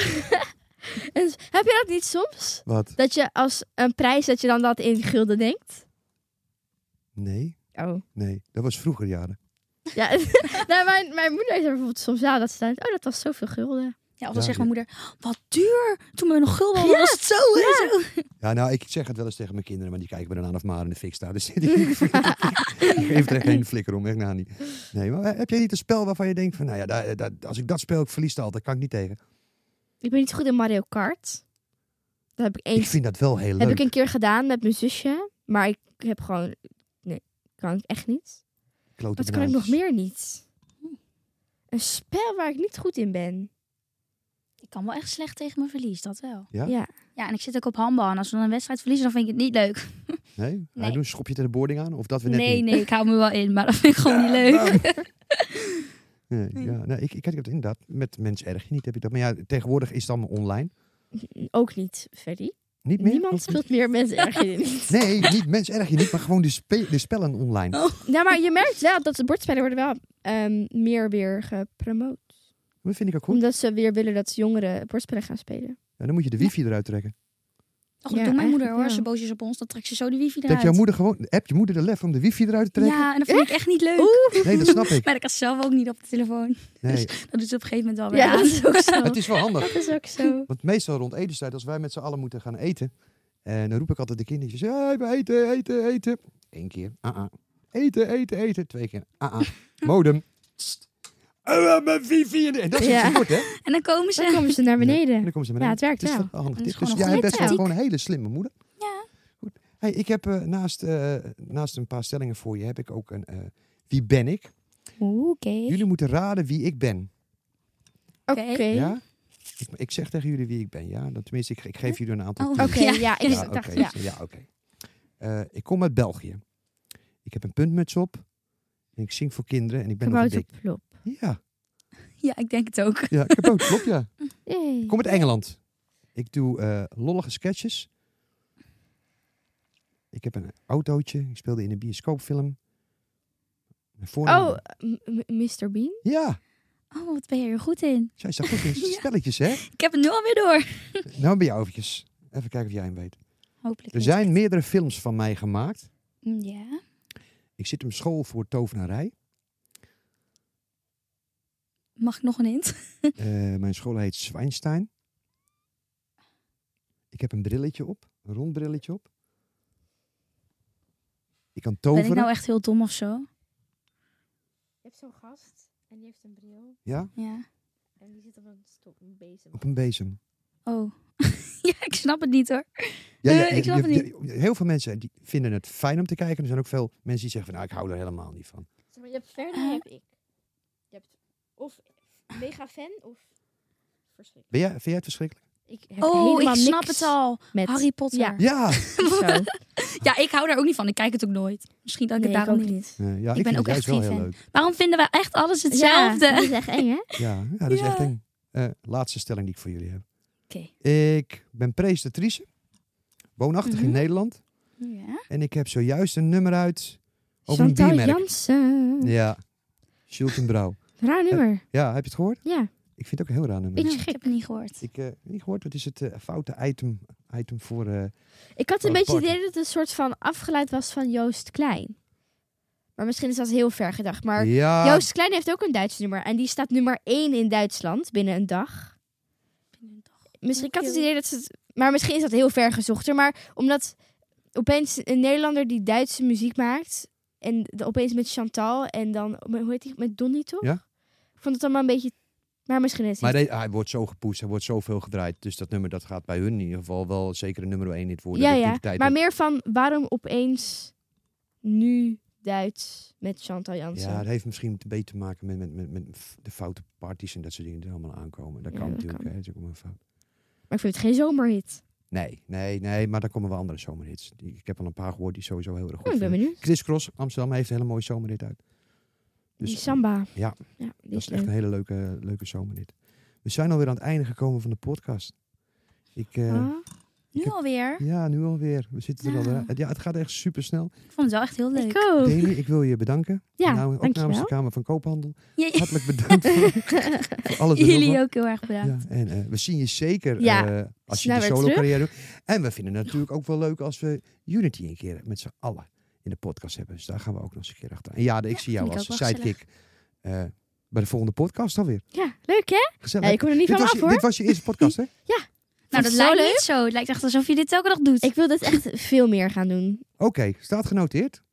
S2: Een s- Heb je dat niet soms?
S3: Wat?
S2: Dat je als een prijs, dat je dan dat in gulden denkt?
S3: Nee,
S2: Oh.
S3: nee. Dat was vroeger jaren.
S2: Ja, nou, mijn, mijn moeder heeft er bijvoorbeeld soms wel dat ze dan, oh, dat was zoveel gulden.
S1: Ja, of
S3: Ja,
S1: dan zegt mijn moeder, wat duur. Toen we nog
S2: Oh,
S1: gulden hadden, was het zo. hè, zo.
S3: Ja, nou, ik zeg het wel eens tegen mijn kinderen, maar die kijken me dan aan of maar in de fik staan. Dus die geeft er echt geen flikker om, echt nou niet. Nee, maar heb jij niet een spel waarvan je denkt van, nou ja, daar- daar- als ik dat speel, ik verlies het altijd, kan ik niet tegen.
S2: Ik ben niet goed in Mario Kart. Dat heb ik
S3: Ik
S2: eens,
S3: vind dat wel heel
S2: heb
S3: leuk.
S2: ik een keer gedaan met mijn zusje, maar ik heb gewoon, nee, kan ik echt niet.
S3: Klote
S2: Wat kan ik nog
S3: banaantjes.
S2: meer niet? Een spel waar ik niet goed in ben.
S1: Ik kan wel echt slecht tegen mijn verlies, dat wel.
S3: Ja?
S2: Ja.
S1: Ja, en ik zit ook op handbal. En als we dan een wedstrijd verliezen, dan vind ik het niet leuk.
S3: Nee? Hij
S1: Nee.
S3: doet een schopje tegen de boarding aan, of dat we net
S1: Nee,
S3: niet.
S1: nee, ik hou me wel in. Maar dat vind ik gewoon niet leuk.
S3: Nee, ja, nou, ik, ik heb dat inderdaad met mensen erg niet, heb ik dat. Maar ja, tegenwoordig is het allemaal online.
S2: Ook niet, Freddy.
S3: Niet meer?
S2: Niemand
S3: Of niet?
S2: speelt meer mensen erg in.
S3: Nee, niet mensen erg niet, maar gewoon de, spe- de spellen online.
S2: Nou, maar je merkt wel dat de bordspellen worden wel ehm, meer weer gepromoot.
S3: Dat vind ik ook goed.
S2: Omdat ze weer willen dat jongeren bordspellen gaan spelen.
S3: Ja, dan moet je de wifi eruit trekken.
S1: Och,
S2: Ja,
S1: dat doet mijn moeder
S2: eigenlijk
S1: hoor.
S2: wel.
S1: Ze boos is op ons, dan trekt ze zo de wifi eruit.
S3: Dat jouw moeder gewoon, heb je moeder de lef om de wifi eruit te trekken?
S1: Ja, en dat vind ik echt niet leuk.
S3: Nee, dat snap ik.
S1: Maar ik kan ze zelf ook niet op de telefoon.
S3: Nee,
S1: Dat doet ze op een gegeven moment wel weer
S2: Ja, dat
S1: aan.
S2: is ook zo.
S3: het is wel handig.
S2: Dat is ook zo.
S3: Want meestal rond etenstijd, als wij met z'n allen moeten gaan eten, en dan roep ik altijd de kindertjes, hey, we eten, eten, eten. Eén keer, ah ah. Eten, eten, eten. Twee keer, ah ah. Modem. Pst. Oh, eh, mijn wifi. En en dat is
S2: Ja.
S3: het kort, hè?
S1: En dan komen
S2: Dan
S1: ze.
S2: komen ze naar
S3: En
S2: beneden.
S3: dan komen ze
S2: Ja,
S3: beneden.
S2: het werkt
S3: dus
S2: wel.
S3: dat is een handig
S1: Dat is
S3: tip. Dus
S1: gewoon
S3: jij
S1: een
S3: hebt
S1: goede
S3: best wel
S1: tactiek.
S3: gewoon een hele slimme moeder.
S1: Ja.
S3: Goed. Hey, ik heb eh, naast, eh, naast een paar stellingen voor je, heb ik ook een eh, wie ben ik?
S1: Oké.
S3: Jullie moeten raden wie ik ben.
S2: Oké.
S1: Oké.
S3: Ja? Ik, ik zeg tegen jullie wie ik ben, ja? Dan, tenminste, ik, ik geef jullie een aantal
S1: Oh.
S3: clues.
S2: Oké,
S1: Ja.
S2: ja, ik
S3: Ja, oké. Dus,
S2: dacht, ja.
S3: ja, oké. Eh, ik kom uit België. Ik heb een puntmuts op. En ik zing voor kinderen en ik ben nog
S2: Kabouter
S3: dik.
S2: plop.
S3: Ja,
S1: Ja, ik denk het ook.
S3: ja, kabouter, klopt, ja.
S2: Hey.
S3: Ik kom uit Engeland. Ik doe eh, lollige sketches. Ik heb een autootje. Ik speelde in een bioscoopfilm. Mijn voornaam-
S2: Oh, m- m- Mr. Bean?
S3: Ja,
S1: Oh, wat ben je er goed in.
S3: zij staat goed in
S1: Ja.
S3: spelletjes, hè?
S1: Ik heb het nu alweer door.
S3: Nou, bij jou eventjes. Even kijken of jij hem weet.
S1: Hopelijk.
S3: Er
S1: niet. Mm,
S3: zijn meerdere films van mij gemaakt.
S1: Ja.
S3: Ik zit op school voor tovenarij.
S1: Mag ik nog een hint?
S3: Eh, mijn school heet Zwijnstein. Ik heb een brilletje op, een rond brilletje op. Ik kan toveren.
S1: Ben ik nou echt heel dom of zo?
S2: Je hebt zo'n gast en die heeft een bril
S3: Ja,
S1: Ja.
S2: en die zit op een stok, een bezem.
S3: op een bezem.
S1: Oh. ja, ik snap het niet hoor.
S3: Ja,
S1: Eh,
S3: ja,
S1: ik snap het
S3: heel veel mensen die vinden het fijn om te kijken. Er zijn ook veel mensen die zeggen van, nou, ik hou er helemaal niet van.
S2: Maar je hebt Ferdi, heb ik. Je hebt of mega fan of verschrikkelijk.
S3: Ben jij, vind jij het verschrikkelijk?
S2: Ik heb
S1: Oh,
S2: helemaal
S1: ik snap
S2: niks
S1: het al.
S2: Met
S1: Harry Potter.
S2: Ja.
S3: Ja!
S2: Zo.
S1: Ja, ik hou daar ook niet van. Ik kijk het ook nooit. Misschien dat ik
S2: Nee,
S1: het
S2: ik
S1: daarom
S2: ook
S1: niet.
S2: niet.
S3: Eh, ja,
S1: ben
S3: ik, vind
S1: ook
S3: het juist
S1: echt
S3: wel
S1: geen
S3: heel
S1: fan.
S3: leuk.
S1: Waarom vinden we echt alles hetzelfde?
S2: Ja, dat is echt eng, hè?
S3: Ja, ja dat is
S1: Ja.
S3: echt een eh, laatste stelling die ik voor jullie heb.
S1: Oké.
S3: Ik ben presentatrice, woonachtig in
S1: Mhm.
S3: Nederland.
S1: Ja.
S3: En ik heb zojuist een nummer uit over een
S2: Chantal
S3: biermerk.
S2: Jansen.
S3: Ja, Schulten Brouw.
S2: Raar nummer.
S3: Ja, heb je het gehoord?
S2: Ja.
S3: Ik vind het ook een heel raar nummer.
S1: Beetje gek. Nou, Ik heb het niet gehoord.
S3: Ik eh, heb niet gehoord, wat is het eh, foute item, item voor... eh,
S2: Ik had een
S3: Wat
S2: beetje
S3: apart.
S2: het idee dat het een soort van afgeleid was van Joost Klein. Maar misschien is dat heel ver gedacht. Maar
S3: ja,
S2: Joost Klein heeft ook een Duits nummer. En die staat nummer 1 in Duitsland binnen een dag. Misschien ik had het
S1: Oké.
S2: idee dat ze het... Maar misschien is dat heel ver gezochter. Maar omdat opeens een Nederlander die Duitse muziek maakt... En de- opeens met Chantal en dan... Hoe heet die? Met Donny, toch?
S3: Ja.
S2: Ik vond het allemaal een beetje... Maar misschien is het...
S3: maar hij- hij wordt zo gepoest, hij wordt zoveel gedraaid. Dus dat nummer dat gaat bij hun in ieder geval wel zeker een nummer 1 dit worden.
S2: ja,
S3: Dat
S2: ja.
S3: die tijd
S2: Maar
S3: dat-
S2: meer van waarom opeens nu Duits met Chantal Jansen?
S3: ja, dat heeft misschien een beetje te maken met, met, met, met de foute parties en dat soort dingen die er allemaal aankomen. Dat
S2: Ja,
S3: kan
S2: dat
S3: natuurlijk,
S2: kan.
S3: hè. Dat is ook maar een fout.
S2: Maar ik vind het geen zomerhit. Oh,
S3: Nee, nee, nee, maar daar komen wel andere zomerhits. Die- Ik heb al een paar gehoord die sowieso heel erg goed
S2: Oh, ik ben
S3: vinden.
S2: benieuwd.
S3: Chris Cross, Amsterdam, heeft een hele mooie zomerrit uit. Dus
S2: die samba.
S3: ja.
S2: ja die
S3: dat
S2: is
S3: is echt
S2: leuk.
S3: een hele leuke, leuke zomerrit. We zijn alweer aan het einde gekomen van de podcast. Ik, eh,
S2: Ah.
S1: Nu alweer.
S3: Ja, nu alweer. We zitten er
S2: Nou.
S3: alweer. aan. Ja, het gaat echt super snel.
S1: Ik vond het wel echt heel leuk.
S2: Ik ook.
S3: Deli, ik wil je bedanken.
S2: Ja,
S3: Nou, ook namens de
S2: dankjewel.
S3: Kamer van Koophandel.
S1: Jij-
S3: Hartelijk bedankt voor, voor alles. en nog wat.
S1: Jullie ook heel erg bedankt.
S3: Ja, en eh, we zien je zeker
S2: Ja,
S3: eh, als je
S2: snel
S3: de
S2: weer
S3: solo carrière doet. En we vinden het natuurlijk ook wel leuk als we Unity een keer met z'n allen in de podcast hebben. Dus daar gaan we ook nog eens een keer achter. En ja, ik zie jou
S1: vind ik
S3: als
S1: ook wel
S3: sidekick eh, bij de volgende podcast alweer.
S2: Ja, leuk hè? Ja,
S3: Gezellig.
S2: je kon er niet
S3: dit,
S2: van me
S3: was
S2: af
S3: je,
S2: hoor.
S3: dit was je eerste podcast, hè?
S1: Nou,
S2: Vond
S1: dat
S2: je het zo
S1: lijkt niet zo. Het lijkt echt alsof je dit elke dag doet.
S2: Ik wil dit echt veel meer gaan doen.
S3: Oké, staat genoteerd.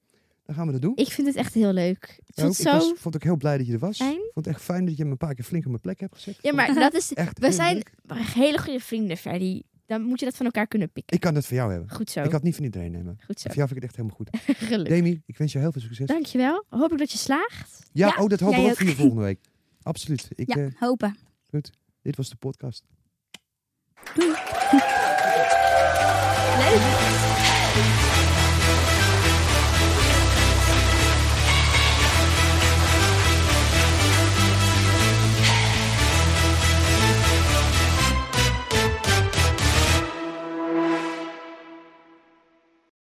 S3: Dan gaan we dat doen.
S2: Ik vind het echt heel leuk. Het
S3: Ook,
S2: voelt
S3: ik was-
S2: zo...
S3: vond ook heel blij dat je er was.
S2: fijn.
S3: vond het echt fijn dat je me een paar keer flink op mijn plek hebt gezet.
S2: Ja, maar dat is...
S3: Echt
S2: We
S3: heel
S2: zijn
S3: leuk.
S2: hele goede vrienden, Ferdy. Dan moet je dat van elkaar kunnen pikken.
S3: Ik kan dat voor jou hebben.
S2: Goed
S1: Oh.
S2: zo.
S3: Ik had niet van iedereen nemen.
S2: Goed zo.
S3: Voor jou vind ik het echt helemaal goed.
S2: Gelukkig.
S3: Demi, ik wens je heel veel succes.
S2: Dankjewel. Hoop ik dat je slaagt.
S3: Ja,
S1: Ja,
S3: oh, dat hoop ik
S1: jij
S3: ook
S1: ook.
S3: voor je volgende week. Absoluut. Ik,
S1: ja,
S3: eh,
S1: hopen.
S3: dit was de podcast.
S2: Leuk.